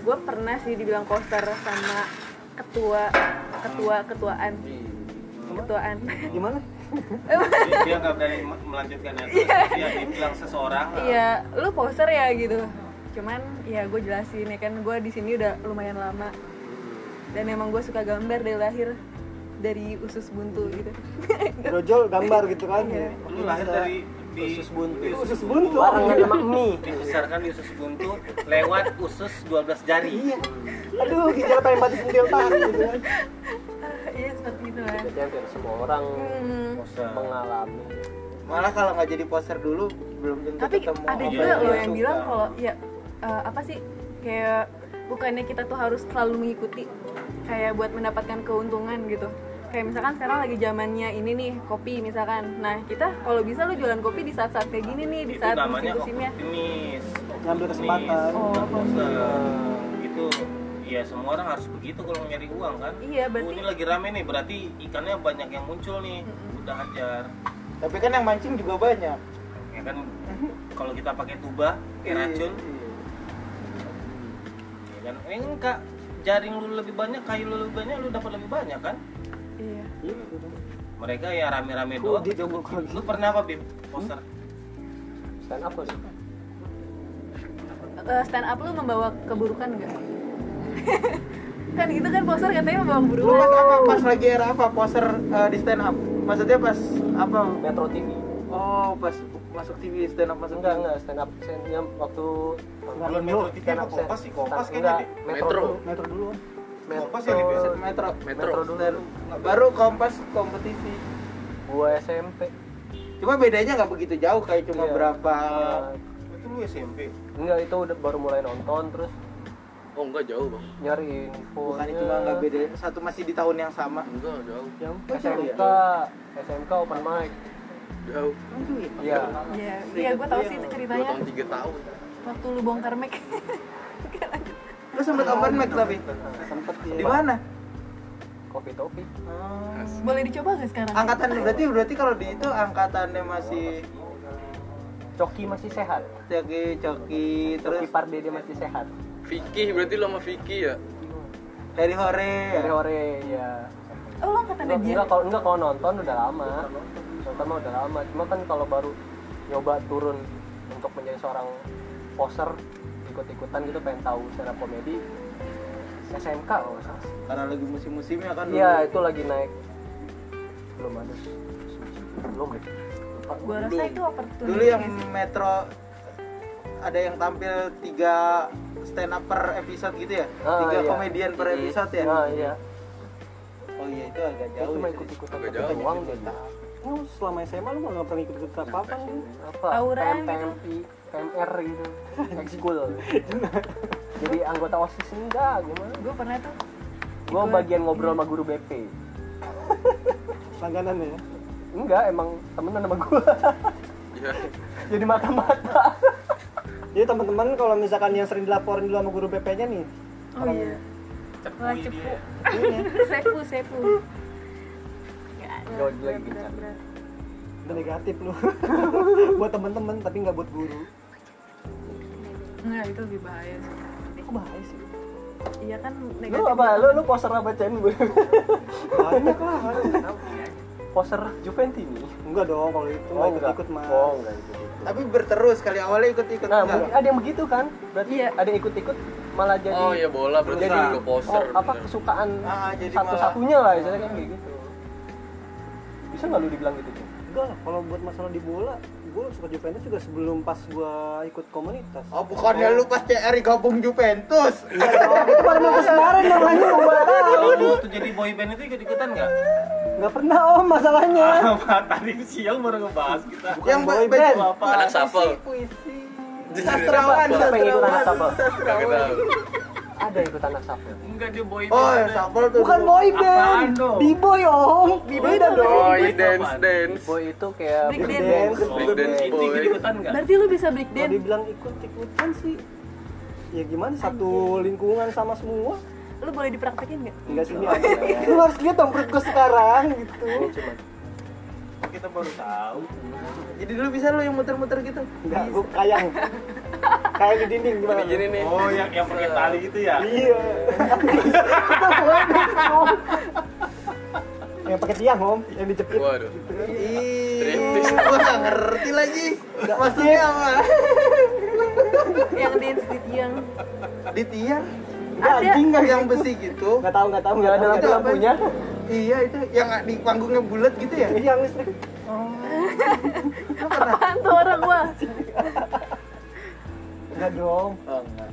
Speaker 2: Gue pernah sih dibilang poster sama ketua, ketua, ketuaan, ketuaan.
Speaker 1: Gimana?
Speaker 3: Jadi dia nggak berani me- melanjutkan ya. Terus Dia dibilang seseorang.
Speaker 2: Iya, lu poster ya gitu. Cuman ya gue jelasin ya kan gue di sini udah lumayan lama. Dan emang gue suka gambar dari lahir dari usus buntu gitu.
Speaker 5: Brojol gambar gitu kan.
Speaker 2: Iya.
Speaker 3: Nah, Lu lahir dari di Iya. usus buntu.
Speaker 5: Usus buntu.
Speaker 1: Barengan sama mie.
Speaker 3: Dibesarkan di usus buntu lewat usus 12 jari.
Speaker 5: Aduh, kita pengen batis sendiri pak. Gitu kan.
Speaker 2: Iya seperti itu lah.
Speaker 1: Berarti hampir semua orang
Speaker 2: Hmm.
Speaker 3: Poser.
Speaker 1: mengalami.
Speaker 4: Malah kalau nggak jadi poser dulu belum tentu
Speaker 2: tapi
Speaker 4: ketemu.
Speaker 2: ada
Speaker 4: apa
Speaker 2: juga
Speaker 4: yang
Speaker 2: loh
Speaker 4: dia
Speaker 2: yang
Speaker 4: suka.
Speaker 2: bilang kalau ya eh, apa sih kayak bukannya kita tuh harus selalu mengikuti kayak buat mendapatkan keuntungan gitu kayak misalkan sekarang lagi zamannya ini nih kopi misalkan nah kita kalau bisa lo jualan kopi di saat-saat kayak gini nih di
Speaker 3: itu
Speaker 2: saat
Speaker 3: namanya
Speaker 2: musim-musimnya
Speaker 3: optimis
Speaker 5: Ngambil kesempatan.
Speaker 2: Oh,
Speaker 3: Bukan
Speaker 2: apa?
Speaker 3: bosen. itu ya semua orang harus begitu kalau nyari uang kan
Speaker 2: Iya,
Speaker 3: Oh,
Speaker 2: berarti-
Speaker 3: ini lagi rame nih berarti ikannya banyak yang muncul nih udah hajar
Speaker 4: Tapi kan yang mancing juga banyak.
Speaker 3: ya kan kalau kita pakai tuba kayak
Speaker 4: Iya.
Speaker 3: racun ya kan eh, enggak jaring lu lebih banyak kayu lu lebih banyak lu dapat lebih banyak kan
Speaker 2: iya
Speaker 3: mereka ya rame-rame doang
Speaker 1: gitu?
Speaker 3: lu pernah apa bim poster
Speaker 1: Stand up kali.
Speaker 2: Eh, stand up lo membawa keburukan nggak kan gitu kan poster katanya membawa
Speaker 4: Lu pas
Speaker 2: keburukan
Speaker 4: apa pas lagi era apa poser eh, di stand up? Maksudnya pas apa?
Speaker 1: Metro TV.
Speaker 4: Oh pas masuk TV stand up masuk
Speaker 1: Enggak,
Speaker 4: TV.
Speaker 1: enggak stand up stand-nya waktu
Speaker 3: bulan metro TV
Speaker 1: stand
Speaker 3: apa
Speaker 1: up
Speaker 3: kompas sih kompas
Speaker 1: stand-
Speaker 3: kayaknya
Speaker 1: enggak,
Speaker 3: deh
Speaker 1: Metro.
Speaker 7: Metro.
Speaker 5: Metro dulu.
Speaker 3: Kompas yang di
Speaker 4: Metro,
Speaker 3: desa.
Speaker 4: Metro,
Speaker 7: Metro.
Speaker 4: Stand. Baru Kompas kompetisi.
Speaker 1: gua SMP
Speaker 4: Cuma bedanya nggak begitu jauh kayak cuma
Speaker 1: Iya.
Speaker 4: berapa.
Speaker 3: Ah.
Speaker 4: Iya.
Speaker 3: itu lu SMP
Speaker 1: enggak itu udah baru mulai nonton terus
Speaker 7: Oh enggak jauh bang.
Speaker 1: nyari info
Speaker 4: Bukan cuma nggak beda, satu masih di tahun yang sama.
Speaker 7: Enggak jauh.
Speaker 1: SMK
Speaker 4: ya?
Speaker 1: SMK open mic
Speaker 7: Jauh.
Speaker 1: iya
Speaker 2: Iya, iya gue tahu sih itu
Speaker 7: Dua
Speaker 2: ceritanya
Speaker 7: tahun tiga tahun.
Speaker 2: waktu lu bongkar mic.
Speaker 4: Lu sempet open mic tapi
Speaker 1: sempet
Speaker 4: di mana?
Speaker 1: kopi topi
Speaker 2: Boleh dicoba gak sekarang?
Speaker 4: Angkatan berarti berarti kalau di itu angkatannya masih
Speaker 1: coki masih sehat
Speaker 4: Coki Coki
Speaker 1: coki
Speaker 4: terus
Speaker 1: parde dia masih sehat
Speaker 7: Vicky berarti lo sama Vicky ya?
Speaker 4: Harry Hore.
Speaker 3: Iya.
Speaker 1: dari ore ya
Speaker 2: Oh lo angkatan
Speaker 1: enggak,
Speaker 2: dia?
Speaker 1: enggak kalau enggak kalau nonton udah lama nonton mah udah lama cuma kan kalau baru nyoba turun untuk menjadi seorang poser ikut-ikutan gitu pengen tahu secara komedi SMK kalau nggak salah
Speaker 4: Karena lagi musim-musimnya kan. dulu.
Speaker 1: iya itu lagi naik belum ada belum deh Lupa.
Speaker 2: Gue rasa
Speaker 4: Dulu-
Speaker 2: itu opportunity
Speaker 4: Dulu yang
Speaker 2: nggak sih?
Speaker 4: Metro ada yang tampil tiga stand up per episode gitu ya?
Speaker 1: Ah,
Speaker 4: tiga
Speaker 1: iya.
Speaker 4: komedian per episode ya?
Speaker 1: nah, iya
Speaker 4: Oh iya itu agak
Speaker 1: itu
Speaker 4: jauh.
Speaker 1: cuma
Speaker 4: ya.
Speaker 1: ikut-ikutan
Speaker 7: Agak
Speaker 1: tapi
Speaker 7: jauh.
Speaker 1: uang gitu. jadi
Speaker 5: Lu selama SMA lu nggak pernah ikut-ikut apa-apa lu.
Speaker 1: apa
Speaker 2: Tawuran gitu.
Speaker 1: PM, PMP PMR gitu ekskul jadi anggota osis enggak gimana
Speaker 2: Gue pernah tuh
Speaker 1: gue bagian ngobrol sama guru BP
Speaker 5: Langganan ya.
Speaker 1: Enggak, emang temenan sama gue.
Speaker 7: Iya.
Speaker 1: Jadi mata-mata.
Speaker 5: Jadi teman-teman kalau misalkan yang sering dilaporin dulu sama guru BP-nya nih,
Speaker 2: Oh iya Wah cepu Iya. Sepu, sepu
Speaker 1: Gak lagi kencang.
Speaker 5: udah negatif lu. buat teman-teman tapi nggak buat guru.
Speaker 2: Enggak, itu lebih bahaya sih
Speaker 5: Kok bahaya sih?
Speaker 2: Iya kan
Speaker 1: Lu
Speaker 2: negatif
Speaker 1: apa? Lu lu poser apa Chen?
Speaker 5: Banyak lah.
Speaker 1: poser Juventini.
Speaker 5: Enggak dong kalau itu nggak ikut-ikut mah.
Speaker 1: Oh, enggak ikut.
Speaker 4: Tapi berterus kali awalnya ikut-ikut
Speaker 1: Nah,
Speaker 4: enggak.
Speaker 1: mungkin ada yang begitu kan? Berarti
Speaker 2: Iya.
Speaker 1: ada yang ikut-ikut malah jadi
Speaker 7: Oh iya bola berarti
Speaker 4: Jadi-
Speaker 7: juga poster.
Speaker 1: oh, apa
Speaker 7: bener.
Speaker 1: kesukaan
Speaker 4: Ah, jadi
Speaker 1: satu-satunya lah misalnya kan kayak gitu. Bisa nggak lu dibilang gitu? Chen?
Speaker 5: Enggak lah, kalau buat masalah di bola, gue suka Juventus juga sebelum pas gue ikut komunitas.
Speaker 4: Oh bukannya lu pas CR gabung Juventus?
Speaker 5: itu baru mau kemarin namanya
Speaker 3: kalau lu waktu jadi boy band itu ikut ikutan nggak
Speaker 5: Nggak pernah om masalahnya.
Speaker 3: apa tadi siang baru ngebahas kita
Speaker 4: yang ba-
Speaker 5: boy
Speaker 4: ba-
Speaker 5: band.
Speaker 3: apa
Speaker 7: Anak sapel.
Speaker 4: puisi.
Speaker 7: Jadi
Speaker 4: Sastrawan,
Speaker 1: Siapa yang ikut anak
Speaker 4: sastrawan,
Speaker 1: sapel?
Speaker 7: Gak
Speaker 4: sastrawan.
Speaker 7: tahu.
Speaker 1: Ada yang ikut anak sapel.
Speaker 6: Enggak dia boy
Speaker 4: Oh,
Speaker 6: band.
Speaker 4: ya, sapel tuh.
Speaker 5: Bukan
Speaker 4: dulu.
Speaker 5: boy
Speaker 3: Apaan
Speaker 5: band,
Speaker 3: dong?
Speaker 5: b-boy om, b-boy dah dong.
Speaker 7: Boy dance dance.
Speaker 1: Boy itu kayak
Speaker 2: Break
Speaker 1: break
Speaker 2: dance.
Speaker 1: dance.
Speaker 7: Break dance
Speaker 3: Itu
Speaker 7: boy.
Speaker 3: ikut ikutan nggak
Speaker 2: Berarti lu bisa break
Speaker 5: Kalau
Speaker 2: dance
Speaker 5: dibilang ikut-ikutan sih, ya gimana satu lingkungan sama semua.
Speaker 2: Lu boleh dipraktekin gak?
Speaker 5: Enggak sini ada.
Speaker 4: ya?
Speaker 5: Lu harus lihat dong perut gue sekarang gitu.
Speaker 3: kita baru tahu
Speaker 4: Jadi dulu bisa lu yang muter-muter gitu.
Speaker 5: Enggak, gue kayang. Kayak di dinding gimana?
Speaker 7: Gini gini nih.
Speaker 3: oh yang yang pakai tali gitu ya
Speaker 5: Iya. Itu boy band, Om. Yang pakai tiang om, yang dijepit.
Speaker 7: Waduh.
Speaker 4: Ih,
Speaker 7: Striptease.
Speaker 4: gua nggak ngerti lagi. Maksudnya apa?
Speaker 2: Yang dance di tiang
Speaker 4: Di tiang
Speaker 2: Ada
Speaker 4: anjing nggak yang besi gitu?
Speaker 5: Nggak tahu, nggak tahu.
Speaker 1: Yang
Speaker 5: nggak
Speaker 1: ada
Speaker 5: tahu,
Speaker 1: lampu
Speaker 5: nggak tahu.
Speaker 1: lampunya.
Speaker 4: Iya itu yang di panggungnya bulat gitu ya.
Speaker 5: Jadi yang listrik.
Speaker 2: Apaan tuh orang wah
Speaker 5: Enggak dong.
Speaker 4: Oh, enggak.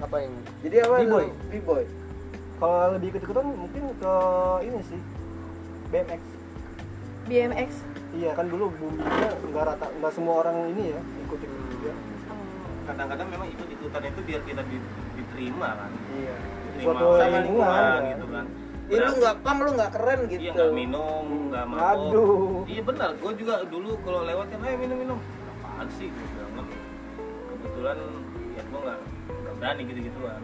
Speaker 1: Apa yang
Speaker 4: Jadi apa?
Speaker 5: B-boy.
Speaker 4: lu? B-boy.
Speaker 5: Kalau lebih ikut-ikutan mungkin ke ini sih. BMX.
Speaker 2: BMX
Speaker 5: Iya kan dulu buminya nggak rata, nggak semua orang ini ya ikut ikut juga.
Speaker 3: kadang-kadang memang ikut ikutan itu biar kita di- diterima kan
Speaker 5: Iya.
Speaker 3: diterima
Speaker 5: Suatu
Speaker 3: sama
Speaker 5: lingkungan.
Speaker 3: lingkungan
Speaker 5: ya.
Speaker 3: gitu kan
Speaker 4: Ih, lu nggak pang, lu nggak keren gitu.
Speaker 3: Iya nggak minum, nggak mabok.
Speaker 5: Aduh.
Speaker 3: Iya benar, gue juga dulu kalau lewat kan, ayo minum minum. Apaan sih? Gue bilang kan. Kebetulan ya gue nggak nggak berani gitu gituan.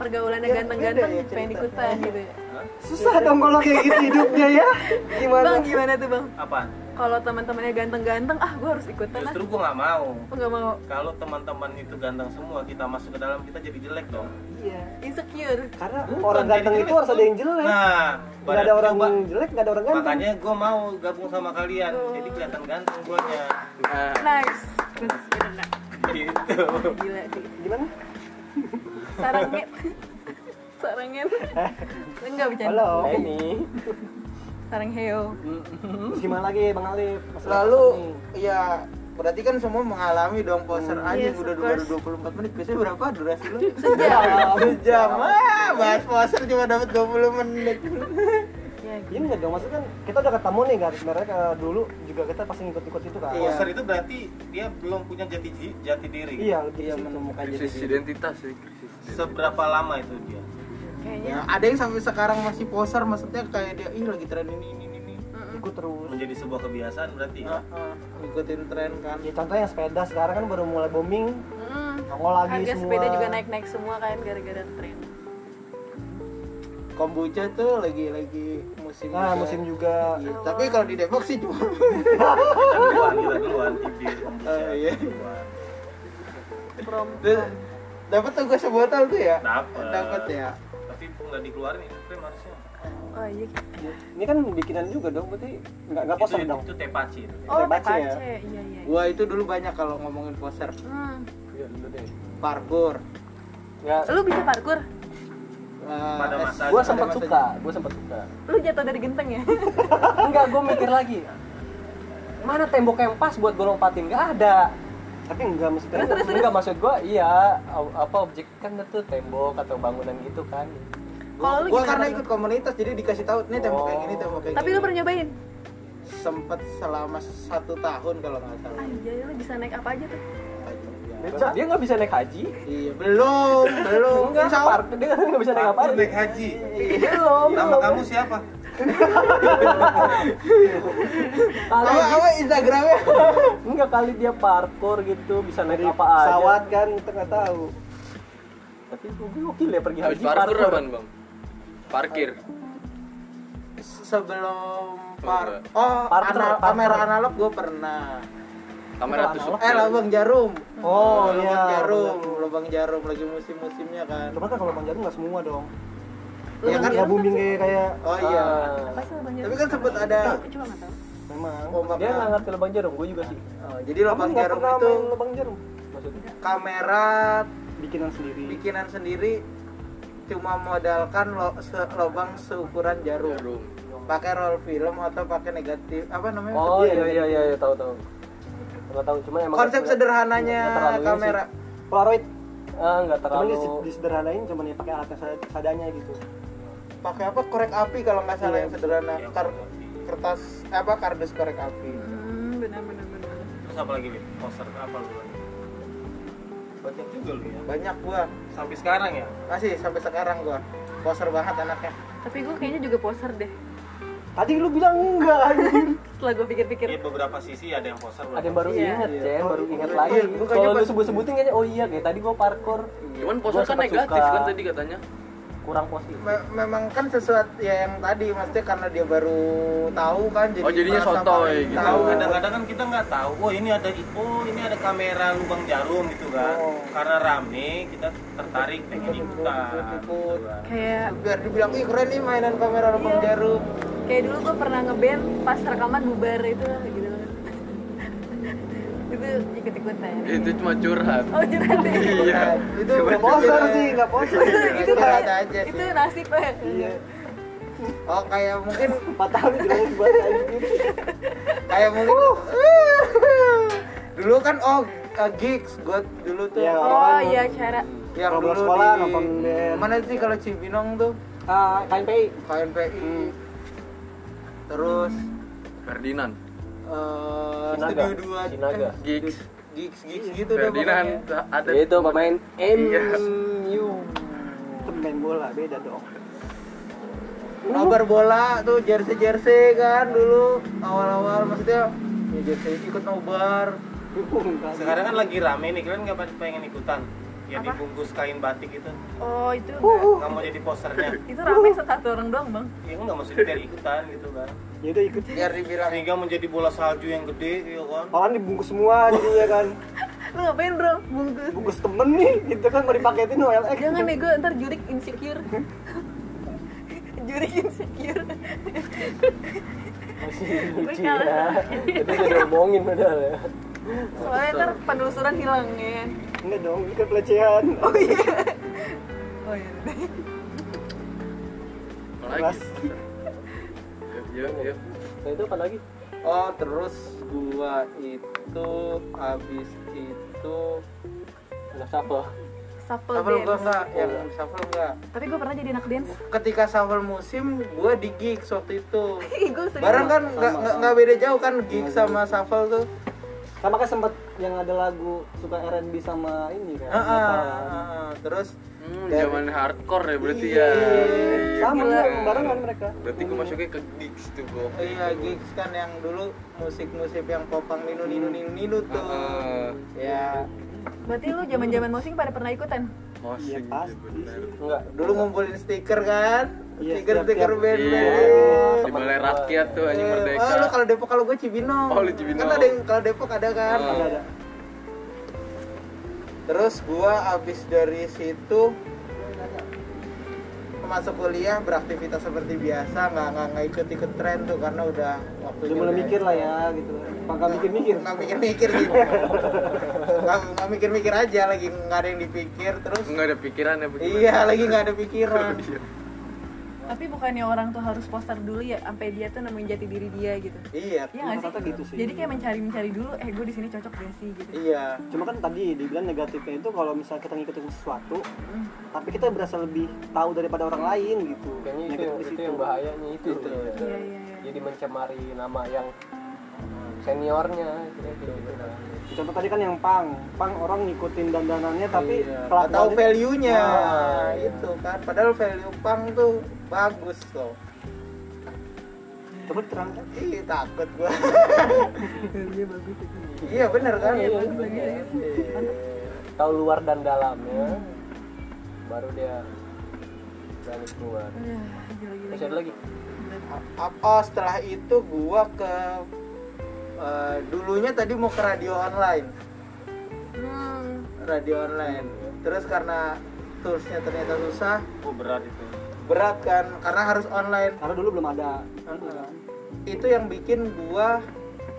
Speaker 2: Pergaulannya
Speaker 5: Ya,
Speaker 2: ganteng-ganteng
Speaker 5: beda ya
Speaker 2: pengen
Speaker 5: ceritanya.
Speaker 2: ikutan gitu ya
Speaker 5: Susah dong kalau kayak gitu hidupnya ya. Gimana?
Speaker 2: Bang gimana tuh bang?
Speaker 3: Apaan?
Speaker 2: Kalau teman-temannya ganteng-ganteng, ah gue harus ikutan ah
Speaker 3: Justru gue nggak mau.
Speaker 2: Gue gak mau
Speaker 3: Kalau teman-teman itu ganteng semua, kita masuk ke dalam kita jadi jelek dong.
Speaker 5: Iya.
Speaker 2: insecure
Speaker 5: Karena
Speaker 3: Bukan,
Speaker 5: orang
Speaker 3: jadi
Speaker 5: ganteng
Speaker 3: jelek.
Speaker 5: itu harus ada yang jelek.
Speaker 3: Nah,
Speaker 5: nggak ada
Speaker 3: barat
Speaker 5: orang
Speaker 3: coba.
Speaker 5: jelek, nggak ada orang ganteng.
Speaker 3: Makanya gue mau gabung sama kalian, jadi kelihatan ganteng gue nya.
Speaker 7: Nah,
Speaker 2: Nice Terus bener
Speaker 3: Gitu.
Speaker 2: Gila sih
Speaker 5: Gimana?
Speaker 2: Sarangnya Sarangnya Enggak bercanda
Speaker 5: Halo.
Speaker 1: ini?
Speaker 2: Sarang heo
Speaker 5: Terus gimana lagi Bang Alif? Masalah
Speaker 4: Lalu
Speaker 5: nih.
Speaker 4: ya Berarti kan semua mengalami dong poser anjing
Speaker 2: Yes,
Speaker 4: udah
Speaker 2: of
Speaker 4: baru
Speaker 2: course.
Speaker 4: 24 menit. Biasanya berapa durasi lu?
Speaker 2: Sejam.
Speaker 4: Sejam. Ah, bahas poser cuma dapat 20 menit.
Speaker 2: Ya, gitu.
Speaker 5: Iya nggak dong, maksudnya kan kita udah ketemu nih garis merahnya kayak dulu juga kita pasti ngikut-ikut itu kan.
Speaker 4: Iya.
Speaker 3: Poser itu berarti dia belum punya jati ji- jati diri.
Speaker 5: Iya, lebih
Speaker 4: Iya,
Speaker 5: iya, menemukan jadi
Speaker 7: krisis identitas sih krisis identitas.
Speaker 3: Seberapa lama itu dia?
Speaker 2: kayaknya
Speaker 4: Ya, ada yang sampai sekarang masih poser maksudnya kayak dia ih lagi tren ini ini ini. ini.
Speaker 5: ikut terus.
Speaker 3: Menjadi sebuah kebiasaan berarti ya.
Speaker 4: Ah, ah, Ngikutin tren kan.
Speaker 5: Ya contohnya yang sepeda sekarang kan baru mulai booming,
Speaker 2: Mm-mm.
Speaker 5: nongol lagi
Speaker 2: harga
Speaker 5: semua.
Speaker 2: sepeda juga naik-naik semua kan gara-gara tren
Speaker 4: Kombucha tuh lagi lagi musim.
Speaker 1: Ah,
Speaker 5: Nah,
Speaker 4: juga.
Speaker 5: musim juga.
Speaker 4: Iya, Tapi kalau di Depok sih cuma
Speaker 3: Kita duluan, kita duluan TV.
Speaker 5: Oh,
Speaker 4: Eh, iya.
Speaker 2: from
Speaker 4: dapat tuh gue sebotol tuh ya.
Speaker 3: Dapat.
Speaker 4: Dapat ya.
Speaker 3: Tapi nggak dikeluarin itu frame harusnya.
Speaker 2: oh iya
Speaker 5: Ini kan bikinan juga dong, berarti nggak nggak poser
Speaker 3: itu,
Speaker 5: dong.
Speaker 3: itu tepaci. itu.
Speaker 2: oh
Speaker 5: Tepace
Speaker 2: tepace
Speaker 5: ya?
Speaker 2: iya iya iya.
Speaker 4: Gua itu dulu banyak kalau ngomongin poser
Speaker 2: Hmm.
Speaker 1: Iya,
Speaker 4: parkour.
Speaker 1: ya
Speaker 2: lu bisa parkur
Speaker 4: Eh,
Speaker 3: Pada masa
Speaker 1: gue
Speaker 4: ada
Speaker 1: sempet
Speaker 4: masanya.
Speaker 1: suka gue sempet suka
Speaker 2: lu jatuh dari genteng ya
Speaker 1: enggak gue mikir lagi mana tembok yang pas buat gue lompatin nggak ada
Speaker 5: Tapi nggak mesti
Speaker 1: Terus,
Speaker 5: terus.
Speaker 1: Enggak maksud gue iya a- apa objek kan itu tembok atau bangunan gitu kan
Speaker 2: kalau lu
Speaker 4: Gua
Speaker 2: gimana
Speaker 4: karena
Speaker 2: lu?
Speaker 4: ikut komunitas jadi dikasih tahu ini tembok kayak gini tembok kayak
Speaker 2: tapi
Speaker 4: gini.
Speaker 2: lu pernah nyobain
Speaker 4: sempet selama satu tahun kalau nggak salah.
Speaker 2: aja lu bisa naik apa aja tuh
Speaker 4: Iya.
Speaker 1: Dia dia nggak bisa naik haji
Speaker 4: Iya belum belum.
Speaker 1: enggak
Speaker 4: Insya Allah.
Speaker 1: park dia katanya nggak bisa naik apa
Speaker 3: Parkour naik haji.
Speaker 5: Iya.
Speaker 1: belum
Speaker 3: Nama kamu siapa?
Speaker 1: Kali-
Speaker 4: Apa apa Instagramnya?
Speaker 1: enggak kali dia parkour gitu bisa naik apa aja
Speaker 5: Pesawat kan kita nggak tahu.
Speaker 1: tapi gue gokil ya pergi
Speaker 7: habis
Speaker 1: haji
Speaker 7: parkur apaan bang parkir
Speaker 4: Sebelum par
Speaker 7: Enggak.
Speaker 4: oh
Speaker 1: Parkour,
Speaker 4: anal-
Speaker 1: parkour.
Speaker 4: kamera analog gue pernah.
Speaker 7: kamera tusuk
Speaker 4: Eh lubang jarum.
Speaker 5: Oh,
Speaker 4: lubang
Speaker 5: iya,
Speaker 4: jarum,
Speaker 5: lubang
Speaker 4: lubang jarum lagi musim-musimnya kan.
Speaker 5: Cuma kan kalau bang jarum nggak semua dong.
Speaker 4: Iya kan?
Speaker 5: Nggak booming kayak kayak Ah,
Speaker 4: Oh iya.
Speaker 1: Ah.
Speaker 2: apa sih banyak
Speaker 4: Tapi kan sempet ada
Speaker 2: aku cuma nggak tahu
Speaker 5: memang.
Speaker 4: ombak.
Speaker 1: dia nggak ngerti lubang jarum gue juga sih
Speaker 4: Oh, jadi
Speaker 5: Kamu
Speaker 4: lubang
Speaker 5: nggak
Speaker 4: jarum
Speaker 5: pernah
Speaker 4: itu
Speaker 5: main lubang jarum
Speaker 1: maksudnya
Speaker 4: kamera
Speaker 5: bikinan sendiri.
Speaker 4: bikinan sendiri cuma modalkan lo, se- lubang seukuran jarum.
Speaker 7: Jarum.
Speaker 4: Pakai roll film atau pakai negatif apa namanya?
Speaker 1: oh iya iya iya iya, tahu tahu nggak tahu cuma emang
Speaker 4: Konsep
Speaker 1: nggak-
Speaker 4: sederhananya
Speaker 1: nggak terlalu ini sih.
Speaker 4: kamera.
Speaker 5: Polaroid.
Speaker 1: ah nggak
Speaker 5: Cuman
Speaker 1: terlalu
Speaker 5: dis- disederhanain cuman ya pakai alat yang sad- seadanya gitu.
Speaker 4: Pakai apa? Korek api kalau nggak salah
Speaker 5: Iya.
Speaker 4: yang sederhana. Kar- kertas eh, apa kardus korek api.
Speaker 2: hmm benar benar benar
Speaker 3: Terus apa lagi? Lip? Poster apa lu? lagi? Banyak juga lu ya.
Speaker 4: Banyak gua.
Speaker 3: Sampai sekarang ya.
Speaker 4: Masih sampai sekarang gua. Poser banget anaknya.
Speaker 2: tapi gue kayaknya juga poser deh
Speaker 5: Tadi lu bilang enggak anjing.
Speaker 2: setelah gue pikir-pikir
Speaker 3: Iya beberapa sisi ada yang poster.
Speaker 1: ada yang baru
Speaker 2: Iya.
Speaker 1: ingat
Speaker 4: Iya.
Speaker 1: Jen, baru
Speaker 4: Oh,
Speaker 1: ingat
Speaker 4: iya.
Speaker 1: lagi
Speaker 4: Iya, gua kayaknya
Speaker 1: kalau lu
Speaker 4: pas-
Speaker 1: sebut-sebutin kayaknya oh iya kayak tadi gue parkour
Speaker 7: cuman
Speaker 1: Gua
Speaker 7: poser kan
Speaker 1: sempat
Speaker 7: negatif
Speaker 1: suka.
Speaker 7: kan tadi katanya
Speaker 1: kurang positif
Speaker 4: Me- memang kan sesuatu ya yang tadi maksudnya karena dia baru tahu kan jadi
Speaker 7: Oh, jadinya
Speaker 4: merasa
Speaker 7: sotoy
Speaker 4: paling
Speaker 7: gitu.
Speaker 4: tahu
Speaker 3: Tahu kadang-kadang kan kita nggak tahu. Oh ini ada oh ini ada kamera lubang jarum gitu kan.
Speaker 4: Oh.
Speaker 3: Karena rame kita tertarik pengen ikutan.
Speaker 4: Ikut.
Speaker 3: gitu kan.
Speaker 2: kayak
Speaker 4: biar dibilang ih keren nih mainan kamera lubang
Speaker 2: Iya.
Speaker 4: jarum
Speaker 2: kayak dulu gue pernah ngeband pas rekaman bubar itu gitu itu ikut-ikutan
Speaker 7: itu cuma curhat
Speaker 2: oh curhat ya?
Speaker 7: iya
Speaker 4: Nah, itu
Speaker 5: Enggak poser sih, enggak poser.
Speaker 2: itu
Speaker 4: Curhat
Speaker 2: kayak-
Speaker 4: aja sih.
Speaker 2: itu nasib ya
Speaker 5: Iya.
Speaker 4: oh kayak mungkin
Speaker 5: Empat tahun juga buat anjing.
Speaker 4: kayak mungkin dulu kan oh eh, gigs gue dulu tuh
Speaker 5: Iya.
Speaker 2: oh iya cara
Speaker 4: yang
Speaker 5: Ngobrol
Speaker 4: dulu
Speaker 5: sekolah,
Speaker 4: di
Speaker 5: nonton band.
Speaker 4: mana sih kalau Cibinong tuh
Speaker 5: Ah, KNPI.
Speaker 4: KNPI
Speaker 5: Hmm.
Speaker 4: terus
Speaker 7: Ferdinand
Speaker 4: eh,
Speaker 1: Sinaga.
Speaker 4: studio dua
Speaker 1: Sinaga.
Speaker 4: eh,
Speaker 7: Gigs
Speaker 4: gigs gigs gitu deh pokoknya
Speaker 7: Ferdinand ada
Speaker 1: Ya itu pemain
Speaker 7: Iya.
Speaker 1: MU
Speaker 5: Itu main bola beda dong.
Speaker 4: nobar bola tuh jersey jersey kan dulu awal-awal maksudnya ya jersey ikut nobar
Speaker 3: Sekarang kan lagi rame nih. Kalian nggak pengen ikutan? Ya dibungkus kain batik itu.
Speaker 2: oh itu
Speaker 4: Uh.
Speaker 3: Nggak mau jadi posternya.
Speaker 2: itu rame satu orang doang bang
Speaker 3: Ya nggak maksudnya biar ikutan gitu kan.
Speaker 5: Ya udah ikut.
Speaker 4: biar dibilang
Speaker 3: Sehingga menjadi bola salju yang gede ya kan.
Speaker 5: Orang dibungkus semua jadinya kan.
Speaker 2: lu ngapain bro bungkus
Speaker 5: Bungkus temen nih, gitu kan mau dipaketin OLX.
Speaker 2: jangan nego ntar jurik insecure jurik insecure
Speaker 1: lucu
Speaker 2: kalah.
Speaker 1: ya jadi udah ngomongin padahal ya
Speaker 2: soalnya ntar penelusuran hilang ya
Speaker 5: Enggak dong, ini kan pelecehan.
Speaker 2: oh iya oh iya
Speaker 7: Apalagi?
Speaker 5: Kelas.
Speaker 7: Yuk, yuk, yuk.
Speaker 1: nah itu apa lagi
Speaker 4: oh terus gua itu habis itu
Speaker 1: udah shuffle
Speaker 2: Supple
Speaker 4: shuffle
Speaker 2: Oh,
Speaker 4: gua
Speaker 2: dance.
Speaker 4: enggak yang shuffle enggak
Speaker 2: Tapi gue pernah jadi anak dance.
Speaker 4: ketika shuffle musim gua di gigs waktu itu
Speaker 2: Ih, gue sering.
Speaker 4: bareng kan nggak nggak- nggak beda jauh kan gigs
Speaker 5: Iya,
Speaker 4: sama shuffle tuh
Speaker 5: Sama kan sempet yang ada lagu suka R&B sama ini kan.
Speaker 4: Heeh,
Speaker 5: metal.
Speaker 4: heeh. terus
Speaker 7: Hmm,
Speaker 4: Dari-
Speaker 7: zaman hardcore ya berarti
Speaker 4: Iya.
Speaker 7: ya.
Speaker 5: Sama
Speaker 7: gila.
Speaker 5: bareng barengan mereka.
Speaker 7: Berarti gue masuknya ke gigs tuh gue.
Speaker 4: iya gigs kan yang dulu musik-musik yang popang nino nino
Speaker 5: Hmm.
Speaker 4: nino nino tuh ya
Speaker 2: Berarti lu zaman-zaman mosing pada pernah ikutan?
Speaker 5: Iya
Speaker 7: Mosing
Speaker 5: pasti.
Speaker 7: bener.
Speaker 1: enggak
Speaker 4: dulu ngumpulin stiker kan
Speaker 5: Iya,
Speaker 4: stiker-stiker
Speaker 5: tiap-tiap-
Speaker 4: band
Speaker 7: Iya. Di balai rakyat tuh anjing merdeka.
Speaker 4: Oh, lu kalau Depok kalau gue Cibinong.
Speaker 7: Oh, lu Cibinong.
Speaker 4: Kan ada yang kalau Depok ada kan.
Speaker 7: Oh.
Speaker 5: Ada ada.
Speaker 4: Terus gua abis dari situ masuk kuliah beraktivitas seperti biasa nggak nggak nggak ikut ikut tren tuh karena udah waktunya
Speaker 5: Udah mulai mikir lah ya gitu. Pangka mikir-mikir.
Speaker 4: nggak mikir mikir gitu nggak nggak mikir mikir aja lagi nggak ada yang dipikir terus
Speaker 7: Enggak ada pikiran ya bagaimana?
Speaker 4: iya lagi nggak ada pikiran
Speaker 2: Tapi bukannya orang tuh harus poster dulu ya sampai dia tuh nemuin jati diri dia gitu.
Speaker 4: iya
Speaker 2: Iya nggak sih?
Speaker 5: Rata-rata gitu sih.
Speaker 2: Jadi kayak mencari-mencari dulu, eh gue di sini cocok gak sih gitu.
Speaker 4: iya
Speaker 5: Cuma kan tadi dibilang negatifnya itu kalau misalnya kita ngikutin sesuatu, tapi kita berasa lebih tahu daripada orang lain gitu.
Speaker 1: kayaknya itu,
Speaker 5: Negatif di
Speaker 1: itu
Speaker 5: situ.
Speaker 1: yang bahayanya itu,
Speaker 4: Itu.
Speaker 1: ya.
Speaker 2: Iya iya iya.
Speaker 1: jadi mencemari nama yang seniornya gitu, gitu.
Speaker 5: Contoh tadi kan yang pang, pang orang ngikutin dandanannya tapi
Speaker 4: Iya, nggak
Speaker 5: kelakuannya-
Speaker 4: tahu value nya
Speaker 5: Ah, iya.
Speaker 4: itu kan padahal value pang tuh bagus loh
Speaker 5: Coba diterangkan.
Speaker 4: Ih, takut gua. Iya bener kan? Iya,
Speaker 1: Iya. tahu luar dan dalamnya baru dia berani keluar
Speaker 2: Udah, gila, gila,
Speaker 1: masih ada lagi
Speaker 4: A- Oh setelah itu gua ke eh, dulunya tadi mau ke radio online,
Speaker 2: Hmm,
Speaker 4: radio online. Terus karena toolsnya ternyata susah,
Speaker 3: Oh berat itu.
Speaker 4: berat kan? Karena harus online.
Speaker 5: Karena dulu belum ada.
Speaker 4: Itu yang bikin gua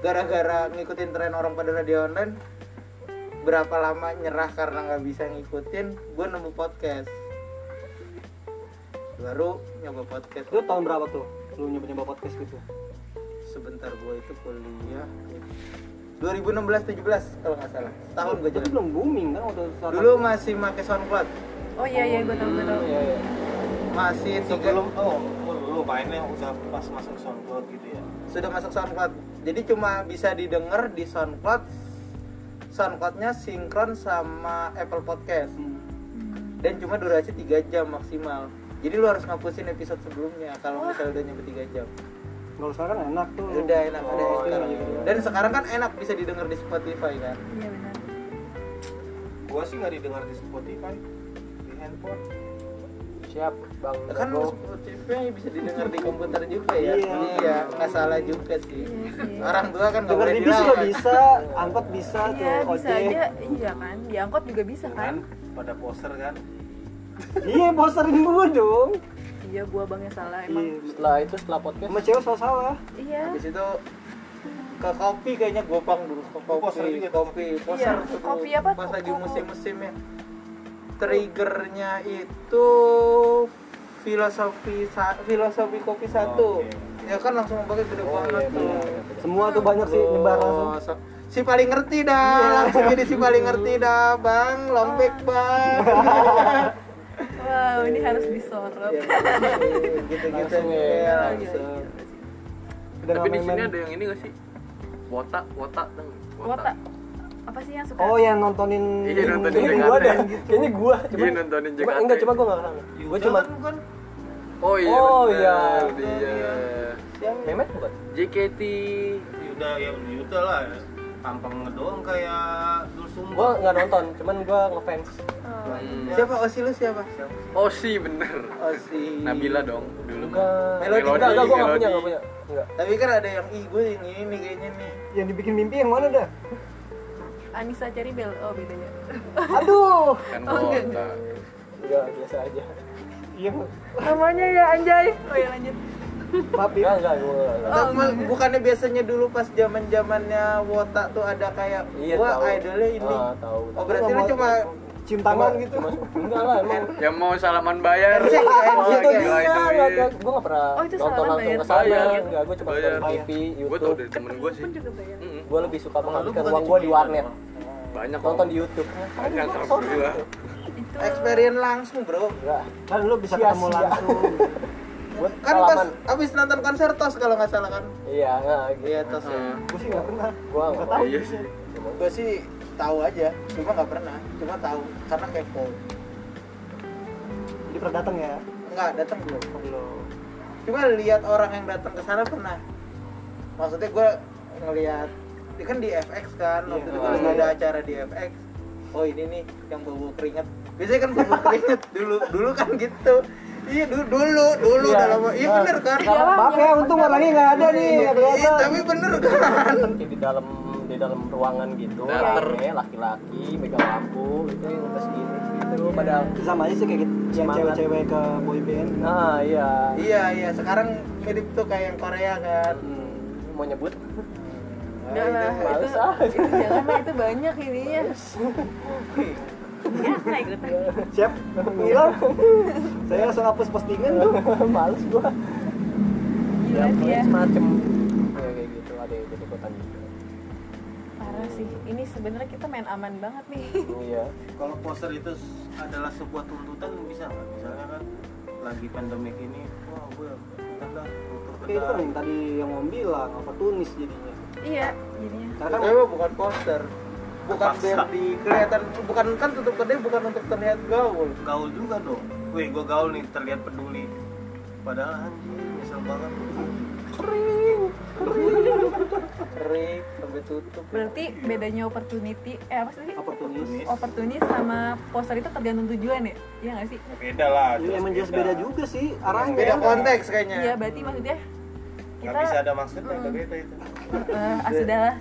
Speaker 4: gara-gara ngikutin tren orang pada radio online berapa lama nyerah karena nggak bisa ngikutin gua nemu podcast baru nyoba podcast
Speaker 5: Itu tahun berapa tuh? Lu nyoba-nyoba podcast gitu.
Speaker 4: sebentar gue itu kuliah 2016 17 kalau nggak salah tahun gue
Speaker 5: Itu
Speaker 4: jalan
Speaker 5: belum booming kan waktu saat
Speaker 4: dulu masih pakai SoundCloud
Speaker 2: Oh iya iya gue tau gue tau.
Speaker 1: Iya, iya.
Speaker 4: masih tiga
Speaker 3: Sebelum oh lu mainnya udah pas masuk SoundCloud gitu ya.
Speaker 4: sudah masuk SoundCloud jadi cuma bisa didengar di SoundCloud SoundCloudnya sinkron sama Apple Podcast
Speaker 2: Hmm,
Speaker 4: dan cuma durasi 3 jam maksimal jadi lu harus ngapusin episode sebelumnya kalau misalnya udah nyampe 3 jam
Speaker 5: Kalau sekarang kan enak tuh.
Speaker 4: udah enak ada
Speaker 5: Oh,
Speaker 4: sekarang
Speaker 5: iya, iya.
Speaker 4: dan sekarang kan enak bisa didengar di Spotify kan
Speaker 2: Iya benar.
Speaker 3: Gua sih nggak didengar di Spotify di handphone.
Speaker 1: siap bang
Speaker 4: kan
Speaker 1: Dago.
Speaker 4: Spotify bisa didengar di komputer juga ya
Speaker 5: Iya.
Speaker 4: iya nggak salah juga sih
Speaker 2: Iya
Speaker 4: orang tua kan nggak
Speaker 5: Dengar
Speaker 4: boleh
Speaker 5: di bis juga
Speaker 4: dilarang.
Speaker 5: bisa, angkot bisa
Speaker 2: Iya
Speaker 5: tuh,
Speaker 2: bisa
Speaker 5: ojek.
Speaker 2: aja, iya kan. Diangkot juga bisa
Speaker 3: Kan
Speaker 2: kan?
Speaker 3: pada poster kan.
Speaker 5: Iya, boserin gua dong.
Speaker 2: Iya gua bangnya salah
Speaker 5: Iya.
Speaker 2: emang.
Speaker 1: setelah itu setelah podcast
Speaker 5: Sama cewek salah-salah.
Speaker 2: Iya.
Speaker 4: habis itu ke kopi kayaknya gue pang dulu ke kopi
Speaker 3: Poster juga.
Speaker 5: gitu.
Speaker 4: kopi poster
Speaker 2: Iya,
Speaker 4: tuh.
Speaker 2: kopi apa? Oh.
Speaker 4: pas
Speaker 2: Ko-
Speaker 4: lagi
Speaker 2: ko-
Speaker 4: musim-musimnya triggernya itu filosofi sa- filosofi kopi
Speaker 5: Oh,
Speaker 4: satu ya kan langsung pakai gede banget tuh
Speaker 5: Iya, Semua tuh banyak sih nyebar langsung.
Speaker 4: Oh, so- si paling ngerti dah langsung jadi si paling ngerti dah bang longback bang
Speaker 2: Wow ini harus disorot.
Speaker 4: Ya, gitu-gitu
Speaker 1: Langsung ya.
Speaker 4: ya,
Speaker 2: Gila, gila,
Speaker 4: langsung.
Speaker 2: gila.
Speaker 7: Tapi
Speaker 5: Udah nggak
Speaker 7: di sini
Speaker 5: main-main.
Speaker 7: ada yang ini gak sih? Wota, wota tuh.
Speaker 2: Wota. Apa sih yang suka?
Speaker 5: Oh, yang nontonin
Speaker 7: Iya, nontonin
Speaker 5: Kayaknya
Speaker 7: yang
Speaker 5: gua
Speaker 7: aneh.
Speaker 5: dan
Speaker 1: kayaknya gua
Speaker 7: Iya nontonin
Speaker 1: cuma
Speaker 7: JKT.
Speaker 1: enggak cuma gua nggak kesana gua cuma
Speaker 7: Oh iya.
Speaker 1: Oh,
Speaker 7: bener,
Speaker 1: iya.
Speaker 7: Dia.
Speaker 1: memet bukan
Speaker 7: JKT.
Speaker 3: Yuda ya Yuda lah. Ya. Tampang doang kayak dul sumber.
Speaker 1: gua nggak nonton cuman gua ngefans
Speaker 7: Hmm.
Speaker 4: Siapa Osi lu siapa?
Speaker 7: Oh sih bener.
Speaker 4: Osi.
Speaker 7: Nabila dong dulu.
Speaker 1: enggak
Speaker 4: Melodi.
Speaker 1: enggak enggak gua nggak
Speaker 7: Melodi.
Speaker 1: punya nggak punya enggak
Speaker 4: Tapi kan ada yang ih gue yang ini nih kayaknya nih.
Speaker 5: yang dibikin mimpi yang mana dah?
Speaker 2: Anissa Ceribel. Oh bedanya.
Speaker 5: Aduh.
Speaker 7: Kan
Speaker 2: Oh, enggak.
Speaker 7: wota.
Speaker 1: enggak biasa aja
Speaker 5: Iya,
Speaker 2: Namanya ya Anjay. Oh ya lanjut.
Speaker 5: maaf ya.
Speaker 1: enggak enggak gua nggak- Oh, nggak.
Speaker 4: Tapi bukannya biasanya dulu pas zaman zamannya Wota tuh ada kayak
Speaker 1: iya
Speaker 4: wah
Speaker 1: tahu
Speaker 4: idolnya ini.
Speaker 1: Ah, tahu
Speaker 4: oh berarti lu cuma
Speaker 5: cium tangan gitu
Speaker 1: Cuma- enggak lah emang
Speaker 7: yang mau salaman bayar
Speaker 4: Handshake,
Speaker 1: Oh, Gitu iya,
Speaker 4: handshake,
Speaker 5: itu
Speaker 4: ya.
Speaker 7: Gila,
Speaker 5: dia
Speaker 7: itu, iya.
Speaker 1: gue gak pernah
Speaker 2: Oh, itu
Speaker 1: nonton
Speaker 2: salaman
Speaker 1: langsung
Speaker 2: bayar.
Speaker 1: ke sana
Speaker 7: Bayar.
Speaker 1: enggak gue cuma
Speaker 7: Bayar.
Speaker 1: nonton TV
Speaker 7: gue tau dari
Speaker 1: YouTube
Speaker 7: temen gue sih
Speaker 8: pun juga
Speaker 2: ya.
Speaker 8: bayar
Speaker 7: Mm-mm.
Speaker 1: gue lebih suka menghabiskan
Speaker 3: bukan
Speaker 1: uang
Speaker 3: di
Speaker 1: gue di
Speaker 3: Jumlah,
Speaker 1: warnet
Speaker 7: banyak Kan,
Speaker 1: nonton
Speaker 7: kok.
Speaker 1: di YouTube
Speaker 7: banyak terus gila
Speaker 8: itu
Speaker 4: experience langsung bro
Speaker 1: enggak
Speaker 5: kan lu bisa
Speaker 1: Sia-sia.
Speaker 5: ketemu langsung
Speaker 1: buat
Speaker 4: kan pas
Speaker 1: salaman
Speaker 4: abis nonton konser tos kalau nggak salah kan
Speaker 1: iya nah, gitu
Speaker 4: iya tos ya
Speaker 5: gue sih nggak pernah
Speaker 1: gue
Speaker 5: nggak tahu
Speaker 7: iya sih
Speaker 4: gue sih tahu aja cuma nggak pernah cuma tahu karena kepo
Speaker 5: jadi pernah datang ya
Speaker 4: nggak datang belum
Speaker 5: belum
Speaker 4: cuma lihat orang yang datang ke sana pernah maksudnya gue ngelihat dia kan di FX kan waktu
Speaker 5: Iya.
Speaker 4: itu kan ada acara di FX oh ini nih yang bobo keringet biasanya kan bobo keringet dulu dulu kan gitu iya dulu dulu dulu
Speaker 5: Iya.
Speaker 4: dalam iya
Speaker 5: Nah,
Speaker 4: bener kan
Speaker 5: Nah, maaf ya untung orangnya nggak ada nih nggak
Speaker 4: Iya,
Speaker 5: kelihatan
Speaker 4: tapi bener kan
Speaker 1: seperti di dalam di dalam ruangan gitu
Speaker 7: Teater.
Speaker 1: rame, laki-laki megang lampu gitu yang udah segini gitu pada
Speaker 5: sama aja sih kayak gitu yang
Speaker 1: Semangat.
Speaker 5: cewek-cewek ke boyband
Speaker 1: ah iya
Speaker 4: iya iya sekarang mirip tuh kayak yang Korea kan Nah,
Speaker 1: Hmm, mau nyebut
Speaker 2: Udah lah, Nah, itu,
Speaker 1: males ah.
Speaker 2: itu jangan lah, itu banyak ininya
Speaker 8: ya saya ikut
Speaker 5: siap ngilang saya langsung hapus postingan tuh
Speaker 1: males gua
Speaker 2: Gila sih ya
Speaker 1: semacam ya kayak gitu ada yang ikut ikutan gitu
Speaker 2: Parah sih, ini sebenarnya kita main aman banget nih
Speaker 1: iya
Speaker 3: kalau poster itu s- adalah sebuah tuntutan bisa nggak misalnya kan lagi pandemik ini wah gue katakan tutup
Speaker 5: Oke, itu
Speaker 3: kedai
Speaker 5: yang tadi yang mau bilang oportunis jadinya
Speaker 2: Iya, jadinya
Speaker 5: karena kan
Speaker 4: Tapi bukan poster bukan
Speaker 3: Paksa.
Speaker 4: biar di kelihatan bukan kan tutup kedai bukan untuk terlihat gaul
Speaker 3: gaul juga dong weh gue gaul nih terlihat peduli padahal anjing misal banget
Speaker 4: kering sampai tutup
Speaker 2: Berarti bedanya opportunity, eh apa sih?
Speaker 5: oportunis
Speaker 2: Opportunity sama poster itu tergantung tujuan ya? Iya nggak sih?
Speaker 3: Ya beda lah
Speaker 5: Iya, emang jelas beda juga sih arahnya kan?
Speaker 4: beda konteks kayaknya
Speaker 2: Iya, berarti maksudnya
Speaker 3: nggak
Speaker 2: kita
Speaker 3: bisa ada maksudnya udah beda itu
Speaker 2: eh, ah sudah lah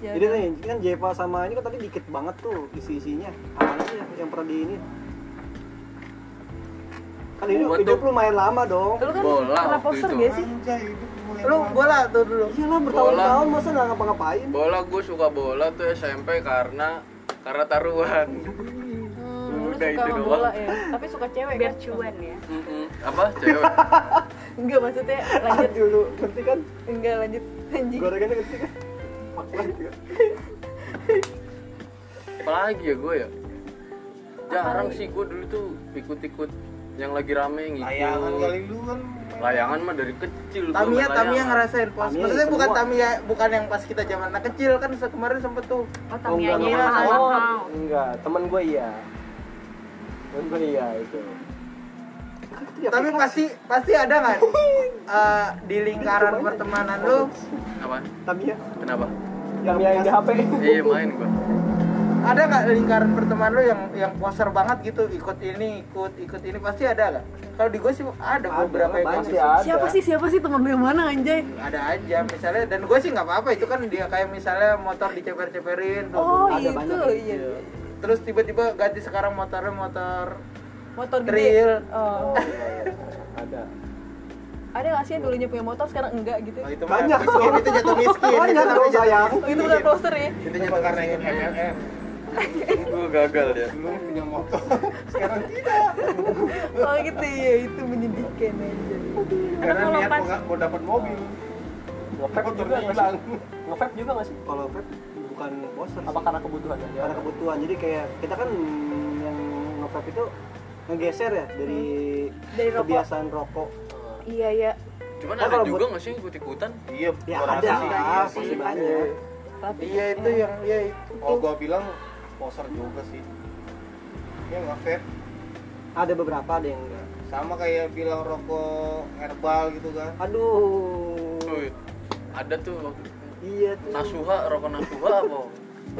Speaker 2: Ya
Speaker 5: Jadi
Speaker 2: udah.
Speaker 5: nih kan Jepa sama ini kan tadi dikit banget tuh isi isinya. Apa sih yang pernah di ini? Kan hidup,
Speaker 7: Gua
Speaker 5: hidup
Speaker 7: tuh-
Speaker 5: lumayan lama dong.
Speaker 2: Lu kan
Speaker 7: Bola
Speaker 2: pernah
Speaker 7: waktu
Speaker 2: poster
Speaker 7: itu.
Speaker 2: gak sih?
Speaker 4: lu bola tuh dulu
Speaker 5: Iyalah bertahun-tahun masa nggak ngapa-ngapain.
Speaker 7: bola gue suka bola tuh SMP karena karena taruhan
Speaker 2: Hmm, lu
Speaker 7: Udah,
Speaker 2: suka
Speaker 7: itu
Speaker 2: sama
Speaker 7: doang.
Speaker 2: bola ya? Tapi suka cewek
Speaker 8: biar
Speaker 2: kan?
Speaker 8: cuan ya
Speaker 7: Mm-mm. apa cewek
Speaker 2: Enggak maksudnya
Speaker 5: Kan
Speaker 2: lanjut
Speaker 5: dulu ngerti kan?
Speaker 2: Enggak lanjut anjing
Speaker 5: Gorengannya ngerti kan? Ngerti kan?
Speaker 7: apalagi ya gue ya jarang sih gue dulu tuh ikut-ikut yang lagi rame ngikut
Speaker 3: layangan kali lu kan
Speaker 7: layangan mah dari kecil gua
Speaker 4: Tamia
Speaker 7: main
Speaker 4: Tamia
Speaker 7: layangan.
Speaker 4: ngerasain pos.
Speaker 5: Tamiya
Speaker 4: Maksudnya bukan
Speaker 5: semua.
Speaker 4: Tamia bukan yang pas kita zaman anak kecil kan se- kemarin sempet tuh.
Speaker 8: oh tapi aja
Speaker 1: enggak,
Speaker 8: yang
Speaker 1: enggak.
Speaker 8: mahal
Speaker 1: Oh,
Speaker 8: mahal
Speaker 1: enggak temen gue iya temen gue iya itu
Speaker 5: Iya,
Speaker 4: Tapi pasti pasti ada kan eh, di lingkaran pertemanan lu
Speaker 7: Apaan?
Speaker 5: Tamia
Speaker 7: kenapa
Speaker 1: yang yang di HP
Speaker 7: iya main gue
Speaker 4: ada nggak lingkaran pertemanan lu yang yang poser banget gitu ikut ini ikut ikut ini pasti ada nggak? Kalau di gue sih ada
Speaker 5: Ada,
Speaker 4: beberapa yang
Speaker 5: banyak.
Speaker 1: pasti
Speaker 4: ikut.
Speaker 1: ada
Speaker 2: Siapa sih, siapa sih temen lu yang mana anjay?
Speaker 4: ada aja misalnya dan gue sih nggak apa-apa itu kan dia kayak misalnya motor diceper-ceperin tuh.
Speaker 2: Oh
Speaker 5: Ada
Speaker 2: itu,
Speaker 5: banyak.
Speaker 2: iya
Speaker 4: terus tiba-tiba ganti sekarang motornya motor
Speaker 2: Motor gede
Speaker 4: Trail.
Speaker 2: Oh.
Speaker 1: ada
Speaker 2: Ada nggak sih yang dulunya punya motor sekarang enggak gitu?
Speaker 4: oh, itu mah
Speaker 5: Banyak.
Speaker 4: miskin, itu jatuh miskin
Speaker 5: Banyak
Speaker 4: itu
Speaker 5: dong sayang.
Speaker 2: Oh, itu bukan poster ya?
Speaker 3: itu jatuh karena ikut MLM
Speaker 7: gue gagal ya
Speaker 3: lu punya motor sekarang
Speaker 2: Oh gitu ya, itu menyedihkan aja.
Speaker 3: karena
Speaker 8: kalau
Speaker 3: niat
Speaker 8: pas-
Speaker 3: mau nggak- mau dapat mobil
Speaker 1: ngevap juga
Speaker 3: Motornya
Speaker 1: nggak
Speaker 3: hilang.
Speaker 1: sih ngevap juga nggak sih
Speaker 5: Kalau vape bukan poster
Speaker 1: apa
Speaker 5: sih.
Speaker 1: karena kebutuhan aja
Speaker 5: Iya, Karena kebutuhan. Jadi kayak kita kan yang nge-vape itu ngegeser ya dari,
Speaker 2: Dari rokok.
Speaker 5: kebiasaan rokok.
Speaker 2: Iya ya,
Speaker 7: cuman
Speaker 5: Nah,
Speaker 7: ada
Speaker 5: kalau
Speaker 7: juga nggak sih ikut-ikutan
Speaker 3: iya
Speaker 5: Ya
Speaker 3: gua
Speaker 5: ada
Speaker 3: rasa sih
Speaker 5: lah,
Speaker 3: iya sih.
Speaker 5: pasti banyak.
Speaker 2: tapi
Speaker 4: iya itu yang iya itu
Speaker 3: kalau gua bilang poser juga sih ya nggak vape
Speaker 5: Ada beberapa ada yang enggak.
Speaker 3: sama kayak bilang rokok herbal gitu kan
Speaker 5: Aduh.
Speaker 7: Cuy, ada tuh waktu
Speaker 5: Iya tuh.
Speaker 7: nasuha rokok nasuha apa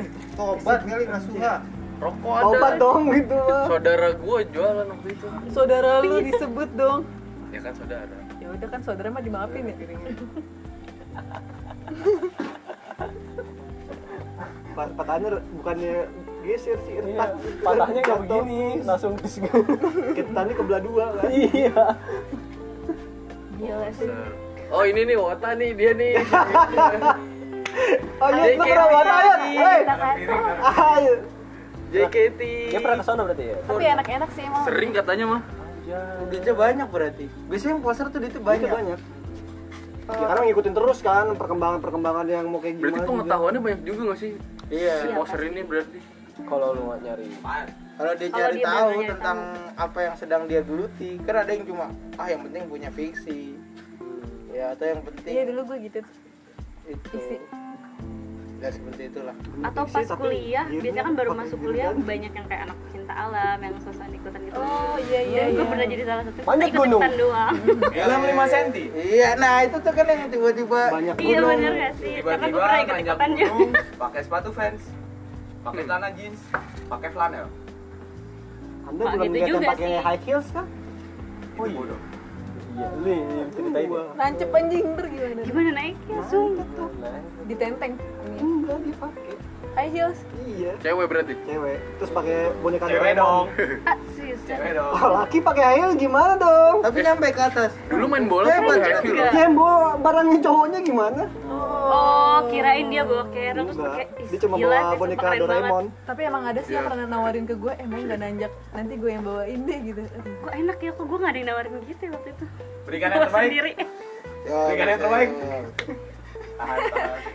Speaker 3: itu obat kali nasuha
Speaker 7: rokok ada
Speaker 5: Obat dong gitu mah.
Speaker 7: saudara gue jualan waktu itu
Speaker 2: saudara lu disebut dong.
Speaker 7: ya kan saudara
Speaker 2: Ya udah kan saudara mah dimaafin ya.
Speaker 5: Pa- Patahnya re- bukannya geser sih,
Speaker 1: iya,
Speaker 5: retak.
Speaker 1: patahnya kayak
Speaker 5: Jatuh.
Speaker 1: begini langsung dis
Speaker 5: Ketannya kebelah dua kan.
Speaker 1: iya
Speaker 2: Gila sih.
Speaker 7: Ser- oh ini nih wota nih dia nih
Speaker 5: Ayo,
Speaker 7: Ada
Speaker 5: lu
Speaker 7: yang
Speaker 5: pernah
Speaker 7: kayak
Speaker 5: buat ayo.
Speaker 7: gini.
Speaker 5: Hei,
Speaker 8: kita kan
Speaker 5: ayo.
Speaker 7: JKT.
Speaker 1: Dia pernah ke sana berarti ya?
Speaker 2: Tapi enak-enak sih emang.
Speaker 7: Sering katanya mah.
Speaker 4: Udah aja banyak berarti. Biasanya yang poster tuh dia tuh banyak.
Speaker 5: Itu banyak. Ya, karena ngikutin terus kan perkembangan-perkembangan yang mau kayak gimana.
Speaker 7: Berarti
Speaker 5: juga.
Speaker 7: pengetahuannya banyak juga gak sih?
Speaker 4: Iya.
Speaker 7: Si poser ini berarti.
Speaker 1: Kalau lu nggak nyari.
Speaker 5: Iya.
Speaker 4: Kalau dia
Speaker 8: Kalau
Speaker 4: cari
Speaker 8: dia
Speaker 4: tahu
Speaker 8: benar-benar
Speaker 4: tentang apa yang sedang dia geluti, kan ada yang cuma ah yang penting punya fiksi. Ya, atau yang penting
Speaker 2: Iya dulu gue gitu.
Speaker 4: itu.
Speaker 2: fiksi.
Speaker 4: Ya seperti itulah.
Speaker 8: atau
Speaker 5: Fiksi,
Speaker 8: pas
Speaker 5: Iya tapi
Speaker 8: kuliah
Speaker 5: dia
Speaker 8: biasanya
Speaker 5: dulu
Speaker 8: kan baru
Speaker 5: pakai
Speaker 8: masuk
Speaker 5: gini
Speaker 8: kuliah
Speaker 5: kan.
Speaker 8: banyak yang kayak anak pecinta alam yang suasana ikutan gitu
Speaker 2: Oh iya iya.
Speaker 8: dan gue
Speaker 2: iya.
Speaker 8: pernah jadi salah satu
Speaker 1: Manjat
Speaker 8: ikut ikutan
Speaker 1: gunung.
Speaker 8: doang
Speaker 6: Dalam 5 senti.
Speaker 4: Iya, nah itu tuh kan yang tiba-tiba
Speaker 5: Banyak
Speaker 8: iya
Speaker 5: gunung.
Speaker 8: bener gak sih karena gue
Speaker 6: Tiba-tiba
Speaker 8: pernah ikut
Speaker 6: panjang
Speaker 8: ikutan juga
Speaker 6: gunung, pakai sepatu fans,
Speaker 3: Hmm.
Speaker 6: pakai celana jeans, pakai flanel.
Speaker 5: Anda
Speaker 8: Pak,
Speaker 5: belum
Speaker 8: gitu
Speaker 5: lihat yang
Speaker 8: juga
Speaker 5: pakai
Speaker 8: sih.
Speaker 5: high heels kan?
Speaker 3: Oh
Speaker 6: Itu bodoh.
Speaker 1: Iya, lu yang ceritain ya.
Speaker 2: Nancep anjing ntar gimana?
Speaker 8: gimana naiknya sumpah
Speaker 1: Nah,
Speaker 2: Ditenteng.
Speaker 4: enggak dipakai.
Speaker 2: High heels.
Speaker 5: Iya.
Speaker 7: Cewek berarti.
Speaker 5: Cewek. Terus pakai boneka
Speaker 6: Cewek
Speaker 5: Doraemon.
Speaker 6: dong,
Speaker 8: ah serius
Speaker 6: cewek dong.
Speaker 5: Wah, laki pakai high heel gimana dong?
Speaker 4: Tapi nyampe ke atas.
Speaker 7: Dulu main bola
Speaker 4: Hebat
Speaker 7: pakai
Speaker 4: juga.
Speaker 7: high heel.
Speaker 8: Enggak.
Speaker 5: Ya, bo, barangnya cowoknya gimana?
Speaker 8: oh kirain dia bawa kerok terus
Speaker 5: Enggak.
Speaker 8: pakai ih,
Speaker 5: Dia cuma
Speaker 8: gila
Speaker 5: bawa
Speaker 8: sih,
Speaker 5: boneka
Speaker 8: sumpah keren
Speaker 5: Doraemon.
Speaker 8: banget.
Speaker 2: Tapi emang ada sih yang
Speaker 7: Iya.
Speaker 2: pernah nawarin ke gue, emang gak nanjak. Nanti gue yang bawain deh gitu. Aduh.
Speaker 8: kok enak ya kok gue gak ada yang nawarin gitu ya waktu itu
Speaker 6: Berikan yang
Speaker 8: gue
Speaker 6: terbaik.
Speaker 8: sendiri
Speaker 4: Ya,
Speaker 6: Berikan yang
Speaker 4: bisa.
Speaker 6: terbaik.
Speaker 3: ya.
Speaker 8: tahan, tahan.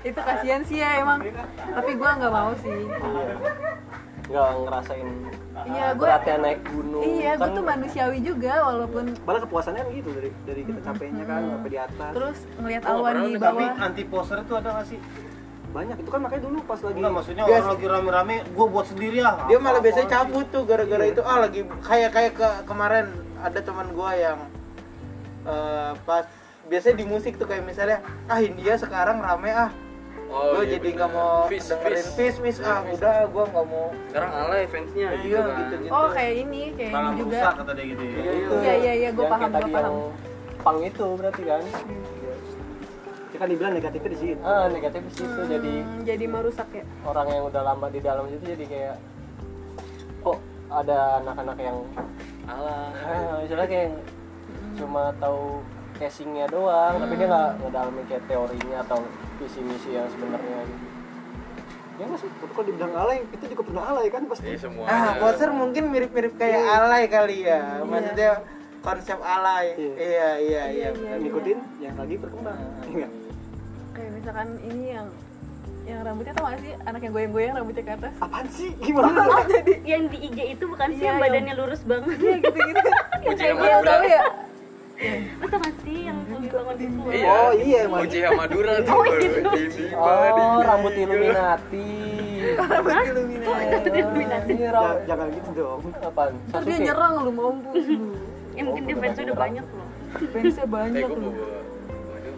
Speaker 2: Itu kasihan sih ya emang. Tapi gue nggak mau sih.
Speaker 1: Iya. nggak ngerasain
Speaker 2: Iya gue.
Speaker 1: beratnya naik gunung.
Speaker 2: Iya gue
Speaker 1: Kan
Speaker 2: tuh manusiawi juga walaupun
Speaker 5: Malah kepuasannya kan gitu dari dari kita capeknya kan sampai di atas.
Speaker 2: terus ngelihat
Speaker 7: Oh,
Speaker 2: awan
Speaker 7: padahal
Speaker 2: di
Speaker 7: nih,
Speaker 3: Tapi
Speaker 2: bawah.
Speaker 3: anti poster itu ada gak sih?
Speaker 5: Banyak itu kan makanya dulu pas lagi
Speaker 3: Enggak, maksudnya
Speaker 4: Biasa.
Speaker 3: orang lagi rame-rame, gue buat sendiri ah.
Speaker 4: dia malah
Speaker 3: Apa-apa.
Speaker 4: biasanya cabut tuh gara-gara
Speaker 7: Iya.
Speaker 4: itu ah lagi kayak kayak ke kemarin ada teman gua yang eh, pas biasanya di musik tuh kayak misalnya ah India sekarang rame ah
Speaker 7: Oh,
Speaker 4: gua
Speaker 7: iya
Speaker 4: jadi
Speaker 7: bener.
Speaker 4: nggak mau
Speaker 7: Fish,
Speaker 4: dengerin
Speaker 7: fish.
Speaker 4: fish fish ah udah gua nggak mau
Speaker 7: Sekarang alay fansnya
Speaker 4: Iya,
Speaker 7: gitu kan.
Speaker 4: gitu-gitu.
Speaker 2: Oh kayak ini kayak
Speaker 3: Malah
Speaker 2: ini juga.
Speaker 3: merusak kata dia gitu ya.
Speaker 2: Iya iya iya gue
Speaker 1: yang
Speaker 2: paham
Speaker 1: kayak
Speaker 2: gue
Speaker 1: tadi
Speaker 2: paham.
Speaker 1: yang pang itu berarti kan.
Speaker 5: Iya. ya kan dibilang negatifnya di situ.
Speaker 1: Ah, negatif di situ jadi
Speaker 2: Hmm, jadi merusak ya.
Speaker 1: orang yang udah lama di dalam situ jadi kayak kok ada anak-anak yang
Speaker 7: Alay.
Speaker 1: ah, misalnya kayak cuma tahu casingnya doang tapi dia nggak ngedalamin kayak teorinya atau visi misi yang sebenarnya gitu.
Speaker 5: Ya nggak sih? Tapi kalau dibilang alay, itu juga pernah alay kan pasti.
Speaker 7: Iya semua.
Speaker 4: ah poster mungkin mirip-mirip kayak
Speaker 7: Iya.
Speaker 4: alay kali
Speaker 2: Iya.
Speaker 4: ya maksudnya konsep alay
Speaker 5: Iya.
Speaker 4: iya iya iya,
Speaker 5: Dan ngikutin yang lagi berkembang. Iya.
Speaker 2: Kayak misalkan ini yang yang rambutnya tau gak sih anak yang goyang-goyang rambutnya ke atas
Speaker 5: Apaan sih? Gimana?
Speaker 8: Oh, yang di IG itu bukan sih
Speaker 2: Iya,
Speaker 8: yang
Speaker 2: yang-
Speaker 8: badannya lurus banget
Speaker 2: iya gitu-gitu yang kayak
Speaker 7: yang
Speaker 2: gue
Speaker 7: Madura.
Speaker 2: tau ya
Speaker 8: lu tau gak sih yang lebih bangun di luar?
Speaker 7: Iya.
Speaker 5: Oh iya, emang.
Speaker 7: Uji Madura tuh. Ini
Speaker 1: oh
Speaker 7: body.
Speaker 1: rambut Illuminati ini
Speaker 2: Iya.
Speaker 5: Ja-
Speaker 1: rambut
Speaker 5: Jangan gitu dong.
Speaker 1: Iya, apaan
Speaker 2: terus dia
Speaker 1: Sasuke?
Speaker 2: nyerang lu mampus lu.
Speaker 8: ya mungkin dia fansnya udah banyak loh
Speaker 2: fansnya
Speaker 7: Eh,
Speaker 2: banyak
Speaker 7: gua
Speaker 2: lu
Speaker 7: bawa. Waduh,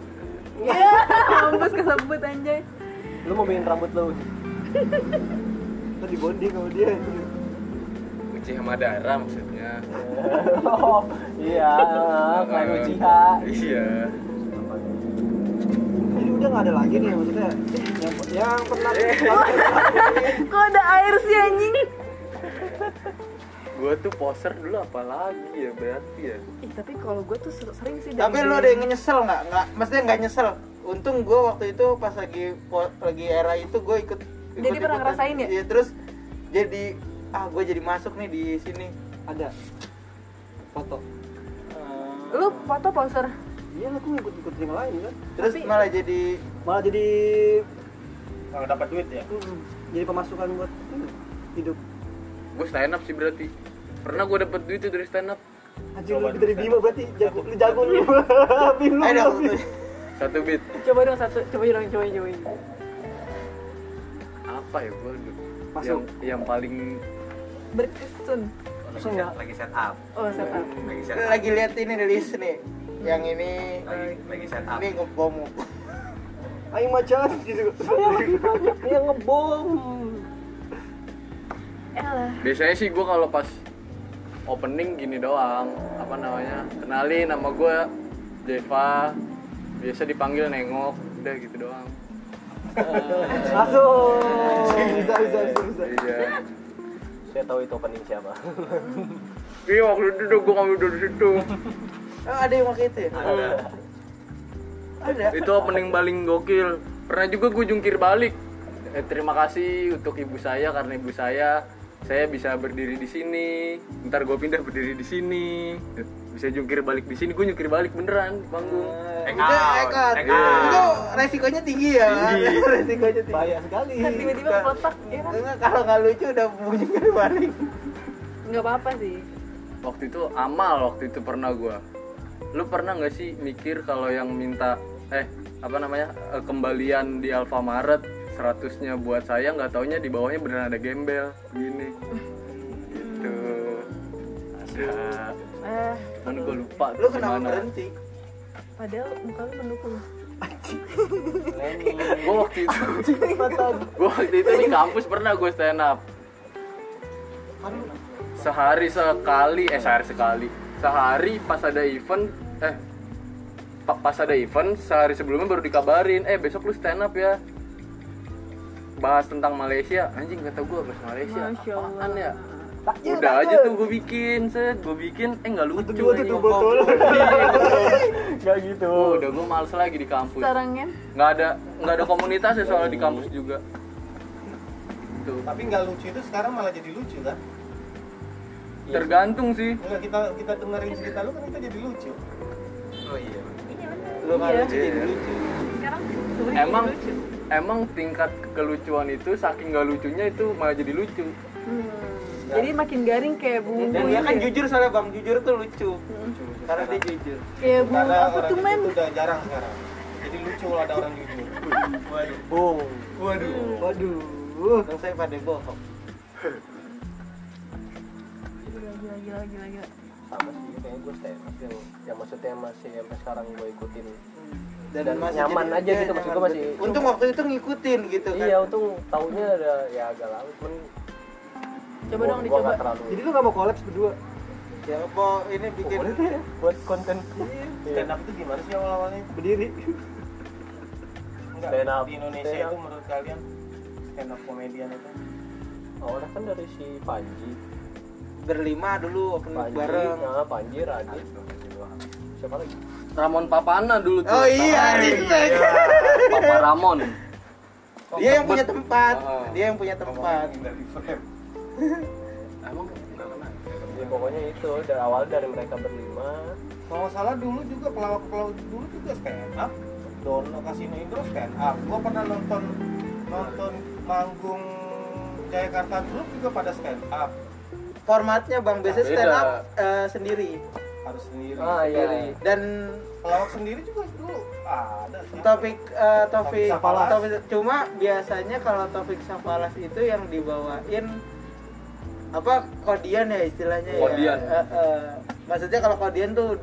Speaker 7: bener.
Speaker 2: iya mampus kesebut anjay
Speaker 1: lu mau bikin rambut lu
Speaker 5: Itu di bonding sama dia.
Speaker 7: Uji Madara maksudnya.
Speaker 1: oh iya klan Uchiha
Speaker 7: Iya.
Speaker 5: Jadi udah nggak ada lagi nih maksudnya yang, yang pernah
Speaker 2: kok ada air sih anjing
Speaker 7: Gua tuh poser dulu apa lagi ya berarti ya.
Speaker 2: ih tapi kalau gue tuh ser- sering sih dari
Speaker 4: tapi lu
Speaker 2: dulu.
Speaker 4: ada yang nyesel nggak nggak maksudnya nggak nyesel untung gue waktu itu pas lagi po- lagi era itu gue ikut, ikut
Speaker 2: Jadi pernah ngerasain ya?
Speaker 4: iya terus jadi ah gue jadi masuk nih di sini
Speaker 5: ada foto.
Speaker 2: lu foto poser
Speaker 5: Iya, aku ngikut-ngikut yang lain kan.
Speaker 4: terus
Speaker 2: Tapi-
Speaker 4: malah jadi
Speaker 5: Malah jadi
Speaker 3: Kalau dapat duit ya.
Speaker 5: mm, jadi pemasukan buat mm, hidup.
Speaker 7: Gua stand up sih berarti. Pernah gua dapet duit tuh dari stand up.
Speaker 5: Anjir lu lebih dari Bima berarti jago lu jago lu. Bima.
Speaker 4: eh dong
Speaker 5: lu.
Speaker 7: Satu beat.
Speaker 2: coba dong satu coba dong coba coba
Speaker 7: Apa ya gua dulu?
Speaker 5: Masuk.
Speaker 7: Yang, yang paling
Speaker 2: berkesun
Speaker 6: Lagi set- Lagi set up,
Speaker 2: oh setup
Speaker 6: lagi set
Speaker 4: lu
Speaker 6: up,
Speaker 4: lagi lihat ini rilis nih yang ini
Speaker 6: lagi lagi set up.
Speaker 4: ini gue bomo
Speaker 5: Aing macan gitu.
Speaker 1: yang ngebom
Speaker 2: elah
Speaker 7: biasanya sih gua kalau pas opening gini doang apa namanya kenalin nama gua Deva biasa dipanggil nengok udah gitu doang
Speaker 5: Masuk. Bisa bisa bisa. bisa.
Speaker 7: iya
Speaker 1: saya tahu itu opening siapa
Speaker 7: iya waktu itu tuh gua ngambil dari situ
Speaker 4: oh, ada yang waktu itu ya? ada
Speaker 7: itu opening paling gokil pernah juga gue jungkir balik eh, terima kasih untuk ibu saya karena ibu saya saya bisa berdiri di sini ntar gue pindah berdiri di sini bisa jungkir balik di sini gue jungkir balik beneran di panggung
Speaker 6: Take
Speaker 4: Itu
Speaker 6: out,
Speaker 4: take out.
Speaker 6: take
Speaker 4: Itu
Speaker 6: out.
Speaker 4: resikonya tinggi ya.
Speaker 7: Tinggi.
Speaker 4: resikonya tinggi.
Speaker 5: Bahaya sekali.
Speaker 2: Kan tiba-tiba kotak ya kan
Speaker 4: Enggak, kalau nggak lucu udah bunyi dari balik.
Speaker 2: nggak apa-apa sih
Speaker 7: waktu itu amal waktu itu pernah gue lu pernah nggak sih mikir kalau yang minta eh apa namanya eh, kembalian di Alfamaret seratusnya buat saya nggak taunya di bawahnya beneran ada gembel gini gitu ada
Speaker 2: eh
Speaker 7: cuman gue lupa
Speaker 4: Lu
Speaker 7: tuh
Speaker 4: kenapa
Speaker 7: gimana.
Speaker 4: berhenti?
Speaker 2: padahal muka lu mendukung
Speaker 7: gue waktu itu gue waktu itu di kampus pernah gue stand up sehari sekali eh sehari sekali sehari pas ada event eh pa- pas ada event sehari sebelumnya baru dikabarin eh besok lu stand up ya bahas tentang Malaysia anjing kata gue bahas Malaysia
Speaker 2: Masya
Speaker 7: apaan
Speaker 2: Allah.
Speaker 7: ya
Speaker 5: iya,
Speaker 7: udah aja tuh gue bikin set gue bikin eh nggak lucu
Speaker 5: Dua tuh
Speaker 7: anjing.
Speaker 5: tuh botol. Enggak gitu.
Speaker 7: Oh, udah gue males lagi di kampus
Speaker 2: sarangan
Speaker 7: nggak ada nggak ada komunitas ya soalnya di kampus juga Gitu.
Speaker 3: Tapi nggak lucu itu sekarang malah jadi lucu kan?
Speaker 7: tergantung sih
Speaker 3: Enggak kita kita dengerin cerita lu kan kita jadi lucu.
Speaker 6: Oh iya.
Speaker 8: Iya bener.
Speaker 4: Lu nggak lucu
Speaker 1: Iya.
Speaker 4: jadi lucu.
Speaker 8: Sekarang semuanya
Speaker 7: emang
Speaker 8: lucu.
Speaker 7: emang tingkat kelucuan itu saking nggak lucunya itu malah jadi lucu
Speaker 2: hmm. jadi makin garing kayak bumbu
Speaker 4: Ya. Dan dia
Speaker 2: itu
Speaker 4: kan
Speaker 2: ya.
Speaker 4: jujur soalnya Bang, jujur tuh lucu. Karena dia jujur.
Speaker 2: kayak bumbu
Speaker 3: Karena
Speaker 2: apa
Speaker 3: orang
Speaker 2: tuh man
Speaker 3: itu udah jarang sekarang. Jadi lucu kalau ada orang jujur.
Speaker 1: Iya.
Speaker 3: Waduh.
Speaker 5: Bung.
Speaker 3: Waduh.
Speaker 5: Waduh. Uh.
Speaker 4: Yang saya pada bohong.
Speaker 2: gila gila gila gila, gila.
Speaker 1: sama sih kayak gue stand up yang yang maksudnya masih sampai sekarang gue ikutin
Speaker 4: Dan,
Speaker 1: Dan
Speaker 4: masih
Speaker 1: nyaman
Speaker 4: jadi-
Speaker 1: aja
Speaker 4: ya,
Speaker 1: gitu, maksud
Speaker 4: nyaman
Speaker 1: gua masih-
Speaker 4: betul. Untung waktu itu ngikutin gitu kan.
Speaker 1: iya untung tahunnya ada ya agak lama cuman
Speaker 2: coba
Speaker 1: gua-
Speaker 2: dong
Speaker 1: gua
Speaker 2: dicoba
Speaker 1: nggak terlalu
Speaker 5: Jadi lu nggak mau kolaps berdua? Oh,
Speaker 4: Ya apa ini bikin
Speaker 1: buat konten
Speaker 5: Iya.
Speaker 1: Iya.
Speaker 3: Stand up itu gimana sih awal-awalnya?
Speaker 5: Berdiri.
Speaker 3: Enggak.
Speaker 1: Stand up.
Speaker 3: Di Indonesia
Speaker 1: Stand up.
Speaker 3: itu menurut kalian stand up komedian itu
Speaker 1: awalnya kan dari si Panji
Speaker 4: berlima dulu open mic
Speaker 1: Panji
Speaker 4: bareng.
Speaker 1: nah, Panji Radit siapa lagi
Speaker 7: Ramon Papana dulu tuh
Speaker 4: Oh iya, anjing.
Speaker 7: Papa Ramon
Speaker 4: Dia yang punya tempat.
Speaker 7: Oh.
Speaker 4: Dia yang punya tempat.
Speaker 3: dari frame.
Speaker 7: emang nggak kenal?
Speaker 1: ya pokoknya itu dari awal dari mereka berlima
Speaker 3: Kalau nggak salah dulu juga pelawak-pelawak dulu juga stand up. Dono Kasino Indro stand up. Gua pernah nonton nonton manggung Jayakarta Group juga pada stand up
Speaker 4: Formatnya Bang biasanya
Speaker 7: Beda.
Speaker 4: stand up eh, sendiri
Speaker 3: harus sendiri.
Speaker 1: ah iya
Speaker 4: dan
Speaker 3: Pelawak sendiri juga dulu ada. sih.
Speaker 4: topik eh,
Speaker 3: Topik
Speaker 4: topik
Speaker 3: Safalas.
Speaker 4: topik cuma biasanya kalau topik safalas itu yang dibawain apa kodian ya istilahnya ya.
Speaker 7: Kodian.
Speaker 4: Eh, eh. maksudnya kalau kodian tuh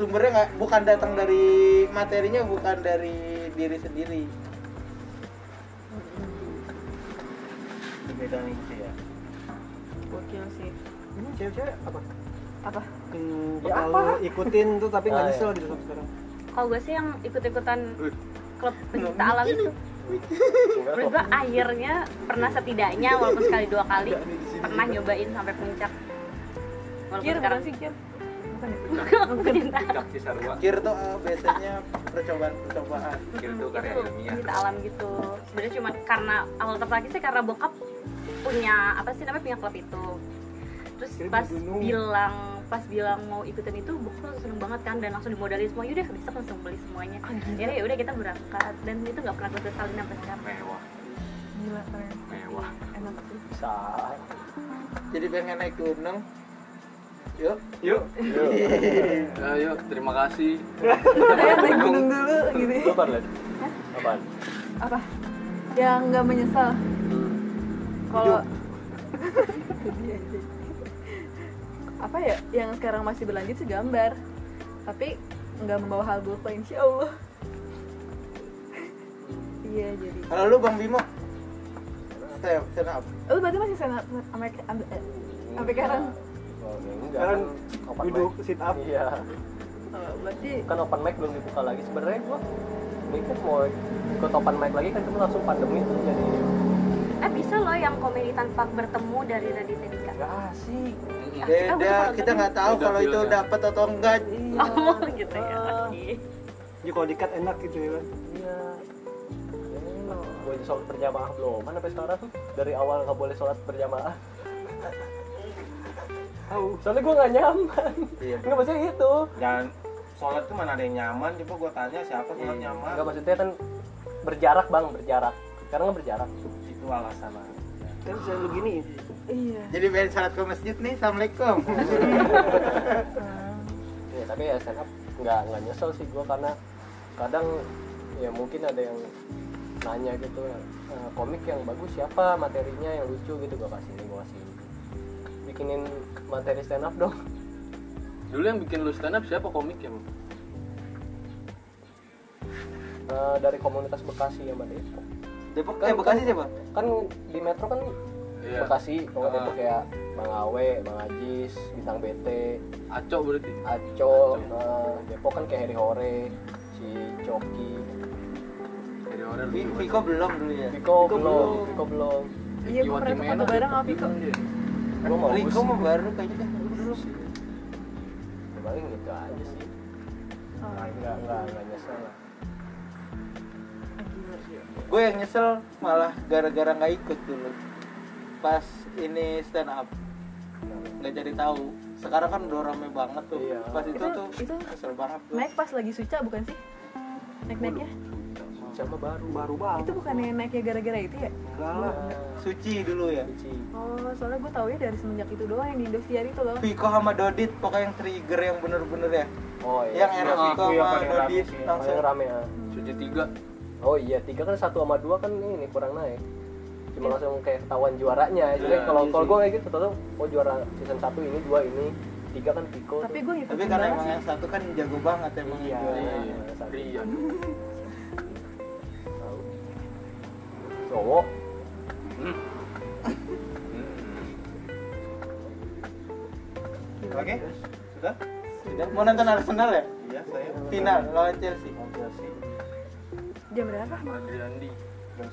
Speaker 4: sumbernya nggak bukan datang dari materinya bukan dari diri sendiri
Speaker 3: beda nih gitu ya.
Speaker 2: gokil sih
Speaker 5: Ini cewek-cewek apa?
Speaker 2: apa
Speaker 5: Yang pernah lu ikutin tuh tapi nggak
Speaker 1: Ah,
Speaker 5: nyesel gitu sampai sekarang.
Speaker 8: Kalau gue sih yang ikut-ikutan klub pencipta alam itu
Speaker 1: Enggak
Speaker 8: Menurut gue akhirnya pernah setidaknya walaupun sekali dua kali Pernah nyobain sampai puncak Walaupun
Speaker 2: kir
Speaker 8: sekarang
Speaker 2: bukan sih kir bukan ya
Speaker 8: pencipta
Speaker 6: Cak Cisarua,
Speaker 4: kir tuh eh, biasanya percobaan percobaan
Speaker 6: kira itu karya
Speaker 8: Itu
Speaker 6: ilmiah.
Speaker 8: pencipta alam gitu sebenarnya cuma karena awal tertarik sih karena bokap punya apa sih namanya punya klub itu terus
Speaker 5: Kira
Speaker 8: pas
Speaker 5: di gunung.
Speaker 8: bilang pas bilang mau ikutin itu bokap langsung seneng banget kan dan langsung dimodalin semua yaudah besok langsung beli semuanya akhirnya ya udah kita berangkat dan itu nggak pernah gue sesalin sampai sekarang
Speaker 6: Mewah,
Speaker 2: gila keren
Speaker 6: mewah.
Speaker 2: enak sih
Speaker 1: bisa
Speaker 4: jadi pengen naik gunung yuk
Speaker 7: yuk Ya, yuk terima kasih
Speaker 2: Udah, naik gunung dulu gitu
Speaker 1: lu apa Len? apaan
Speaker 2: apa yang nggak menyesal kalau apa ya yang sekarang masih berlanjut sih gambar tapi nggak membawa hal buruk insya Allah iya jadi
Speaker 4: kalau lu bang
Speaker 7: Nah.
Speaker 4: Bimo stand stand up
Speaker 2: lu Oh, berarti masih stand up sama am- eh, sampai sekarang
Speaker 1: Oh, ya enggak
Speaker 5: Sekarang
Speaker 1: kan open
Speaker 5: duduk
Speaker 1: mic.
Speaker 5: sit up.
Speaker 1: iya
Speaker 2: Oh, berarti
Speaker 1: kan open mic belum dibuka lagi sebenarnya gua mikir mau ikut open mic lagi kan cuma langsung pandemi tuh jadi
Speaker 8: Eh bisa loh yang komedi tanpa bertemu dari Raditya Dika.
Speaker 1: nggak asik
Speaker 4: beda kita nggak tahu
Speaker 7: Beda
Speaker 4: kalau itu
Speaker 7: feelnya.
Speaker 4: dapat atau enggak
Speaker 8: Oh gitu ya. Oke.
Speaker 5: Jadi kalau dikat enak gitu ya. kan.
Speaker 1: Iya. Gue aja sholat berjamaah belum. Mana sampai sekarang dari awal nggak boleh sholat berjamaah. Soalnya gue nggak nyaman.
Speaker 7: Iya.
Speaker 1: Nggak maksudnya itu.
Speaker 3: Dan sholat tuh mana ada yang nyaman, coba gue tanya siapa sholat nyaman.
Speaker 1: Nggak maksudnya kan berjarak bang, berjarak. Karena nggak berjarak.
Speaker 3: Itu alasan aja.
Speaker 5: Kan selalu gini.
Speaker 2: Iya.
Speaker 4: Jadi biar salat ke masjid nih, assalamualaikum.
Speaker 1: Ya, tapi ya stand up nggak nggak nyesel sih gue karena kadang ya mungkin ada yang nanya gitu e, komik yang bagus siapa materinya yang lucu gitu gue kasih ini gue kasih ini bikinin materi stand up dong
Speaker 7: Dulu yang bikin lu stand up siapa komik ya? Bang?
Speaker 1: E, dari komunitas Bekasi ya mbak Depok
Speaker 4: Depok
Speaker 1: Kan-
Speaker 4: eh Bekasi siapa?
Speaker 1: kan di metro kan
Speaker 7: Iya.
Speaker 1: Bekasi kalau
Speaker 7: Ah.
Speaker 1: Depok kayak Bang Awe, Bang Ajis, Bintang BT,
Speaker 7: Aco berarti.
Speaker 1: Aco, eh, Depok kan kayak Heri Hore, si Coki,
Speaker 7: Dari orang
Speaker 4: Vi- Viko belum dulu ya.
Speaker 1: Iya. Viko belum, Viko belum,
Speaker 2: Iya, gue pernah ke foto bareng sama Viko.
Speaker 1: Gua mau
Speaker 4: Viko
Speaker 1: lulus.
Speaker 4: mah baru kayaknya dah. Dulu.
Speaker 1: Ya, paling gitu aja sih.
Speaker 2: Oh,
Speaker 1: Enggak, enggak, enggak nyesel lah.
Speaker 4: Gue yang nyesel malah gara-gara nggak ikut dulu. Pas ini stand up nggak jadi tahu. Sekarang kan udah rame banget tuh.
Speaker 1: Iya.
Speaker 4: Pas itu,
Speaker 2: Itu-
Speaker 4: tuh
Speaker 2: itu
Speaker 4: nyesel banget tuh.
Speaker 2: Naik pas lagi suca bukan sih? Naik-naiknya?
Speaker 1: Sama baru, baru
Speaker 2: Itu bukannya naiknya gara-gara itu ya?
Speaker 5: Enggak lah.
Speaker 4: Suci dulu ya.
Speaker 1: Suci.
Speaker 2: Oh, soalnya gue taunya dari semenjak itu doang yang di Indosiar itu loh.
Speaker 4: Viko sama Dodit pokoknya yang trigger yang bener-bener ya.
Speaker 1: Oh iya.
Speaker 4: Yang era Viko
Speaker 3: aku yang
Speaker 4: sama
Speaker 3: paling rame
Speaker 4: Dodit
Speaker 3: sih, yang
Speaker 4: langsung
Speaker 1: Paling rame ya.
Speaker 7: Cuci tiga.
Speaker 1: Oh iya, tiga kan satu sama dua kan ini kurang naik. Cuma langsung kayak ketahuan juaranya. Jadi
Speaker 7: Iya,
Speaker 1: kalau
Speaker 7: iya
Speaker 1: kalau
Speaker 7: sih.
Speaker 1: gue kayak gitu tahu oh juara season satu ini, dua ini, tiga kan Viko.
Speaker 2: Tapi
Speaker 1: tuh.
Speaker 2: gue ngikutin
Speaker 4: tapi karena
Speaker 2: banget
Speaker 4: emang
Speaker 2: sih.
Speaker 4: yang satu kan jago banget emang
Speaker 1: Iya.
Speaker 4: juara.
Speaker 1: Iya.
Speaker 7: Rian.
Speaker 1: Tahu. Cowok.
Speaker 3: Oke, sudah?
Speaker 4: Sudah? mau nonton Arsenal ya
Speaker 3: Iya, saya
Speaker 4: final lawan Chelsea
Speaker 3: mau Chelsea
Speaker 2: Jam berapa?
Speaker 7: Adriandi.
Speaker 3: jam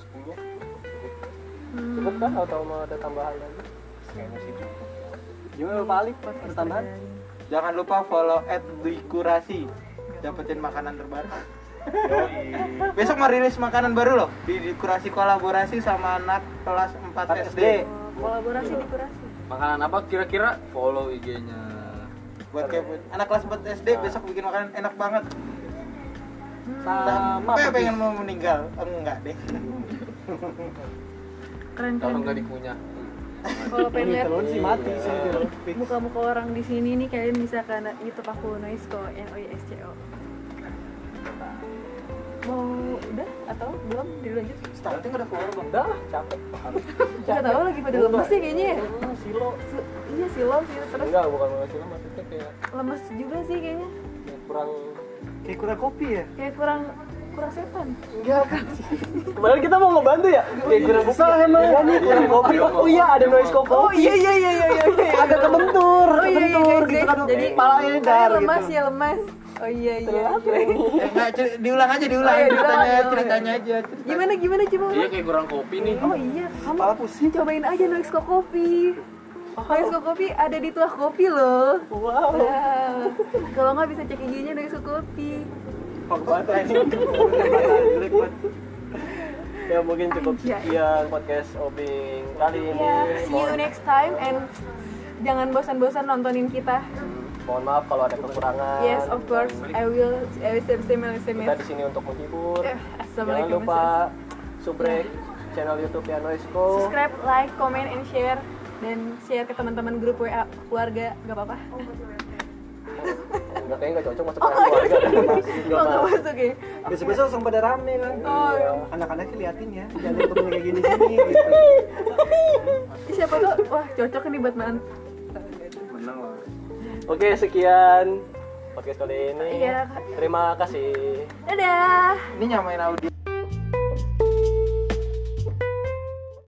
Speaker 3: 10
Speaker 1: Cukup kan atau mau ada tambahan lagi?
Speaker 3: kayaknya sih cukup.
Speaker 4: jangan lupa Alif pertambahan jangan lupa follow at Duikurasi dapetin makanan terbaru
Speaker 3: Yoi.
Speaker 4: besok mau rilis makanan baru loh di Duikurasi kolaborasi sama anak kelas 4 SD
Speaker 2: Oh, Kolaborasi di kurasi.
Speaker 7: Makanan apa kira-kira? Follow IG-nya.
Speaker 4: buat kayak anak kelas 4 SD besok bikin makanan enak banget
Speaker 5: Sama
Speaker 4: sampai pengen mau meninggal enggak deh
Speaker 2: Keren
Speaker 7: Kalau
Speaker 2: keren.
Speaker 7: nggak dikunyah.
Speaker 2: Kalau pengen lihat
Speaker 5: telur sih mati sih itu loh.
Speaker 2: muka-muka orang di sini nih kalian bisa ke YouTube aku Noisco N O I S C O. Mau udah atau belum dilanjut?
Speaker 4: starting udah keluar bang
Speaker 1: Udah lah, capek.
Speaker 2: Gak tau lagi pada lemes sih kayaknya ya.
Speaker 1: Hmm, Silo.
Speaker 2: Su- Iya sih lo sih terus
Speaker 1: Enggak, bukan mau silo maksudnya kayak
Speaker 2: lemes juga sih kayaknya.
Speaker 1: kayak kurang
Speaker 5: Kayak kurang kopi ya.
Speaker 2: Kayak kurang kurang setan.
Speaker 1: Kemarin kita mau ngebantu ya? Kayak kurang kopi. emang. Iya nih, kurang kopi. Oh iya, ada noise kopi. Oh iya iya iya iya iya. Agak kebentur,
Speaker 2: Oh iya iya
Speaker 1: kebentur
Speaker 2: guys,
Speaker 1: gitu kan.
Speaker 2: guys. Jadi
Speaker 1: kepala ini dar
Speaker 2: kalian
Speaker 1: gitu.
Speaker 2: lemas ya lemas. Oh iya iya.
Speaker 4: Eh, enggak, cer- diulang aja diulang
Speaker 2: Oh, iya, diulang,
Speaker 4: ceritanya
Speaker 2: diulang.
Speaker 4: ceritanya aja ceritanya.
Speaker 2: Gimana gimana coba?
Speaker 7: Iya kayak kurang kopi nih.
Speaker 2: Oh iya, kamu cobain aja Noisco Kopi.
Speaker 1: Oh.
Speaker 2: Noisco Kopi ada di tuah kopi loh. Wow. Kalau nggak bisa cek IG-nya Noisco Kopi.
Speaker 1: Ya mungkin cukup
Speaker 2: Anjay.
Speaker 1: sekian podcast obing kali ini.
Speaker 2: Ya, see you next time and jangan bosan-bosan nontonin kita.
Speaker 1: Mohon maaf kalau ada kekurangan.
Speaker 2: Yes, of course. I will. I will same same same.
Speaker 1: Kita di sini untuk menghibur.
Speaker 2: Eh,
Speaker 1: Jangan
Speaker 2: Assalamualaikum. Iya.
Speaker 1: lupa subrek channel YouTube ya Noiseco.
Speaker 2: subscribe, like, comment, and share dan share ke teman-teman grup WA keluarga nggak apa-apa
Speaker 1: Enggak kayaknya enggak cocok masuk ke keluarga.
Speaker 2: oh nggak masuk ya
Speaker 5: Besok-besok langsung pada rame kan.
Speaker 2: oh
Speaker 4: iya.
Speaker 5: Anak-anak liatin ya. Jangan ketemu kayak gini-gini gitu.
Speaker 2: siapa tuh wah cocok nih buat man
Speaker 1: Oke, sekian podcast kali ini.
Speaker 2: Iya.
Speaker 1: Terima kasih.
Speaker 2: dadah
Speaker 4: ini nyamain audio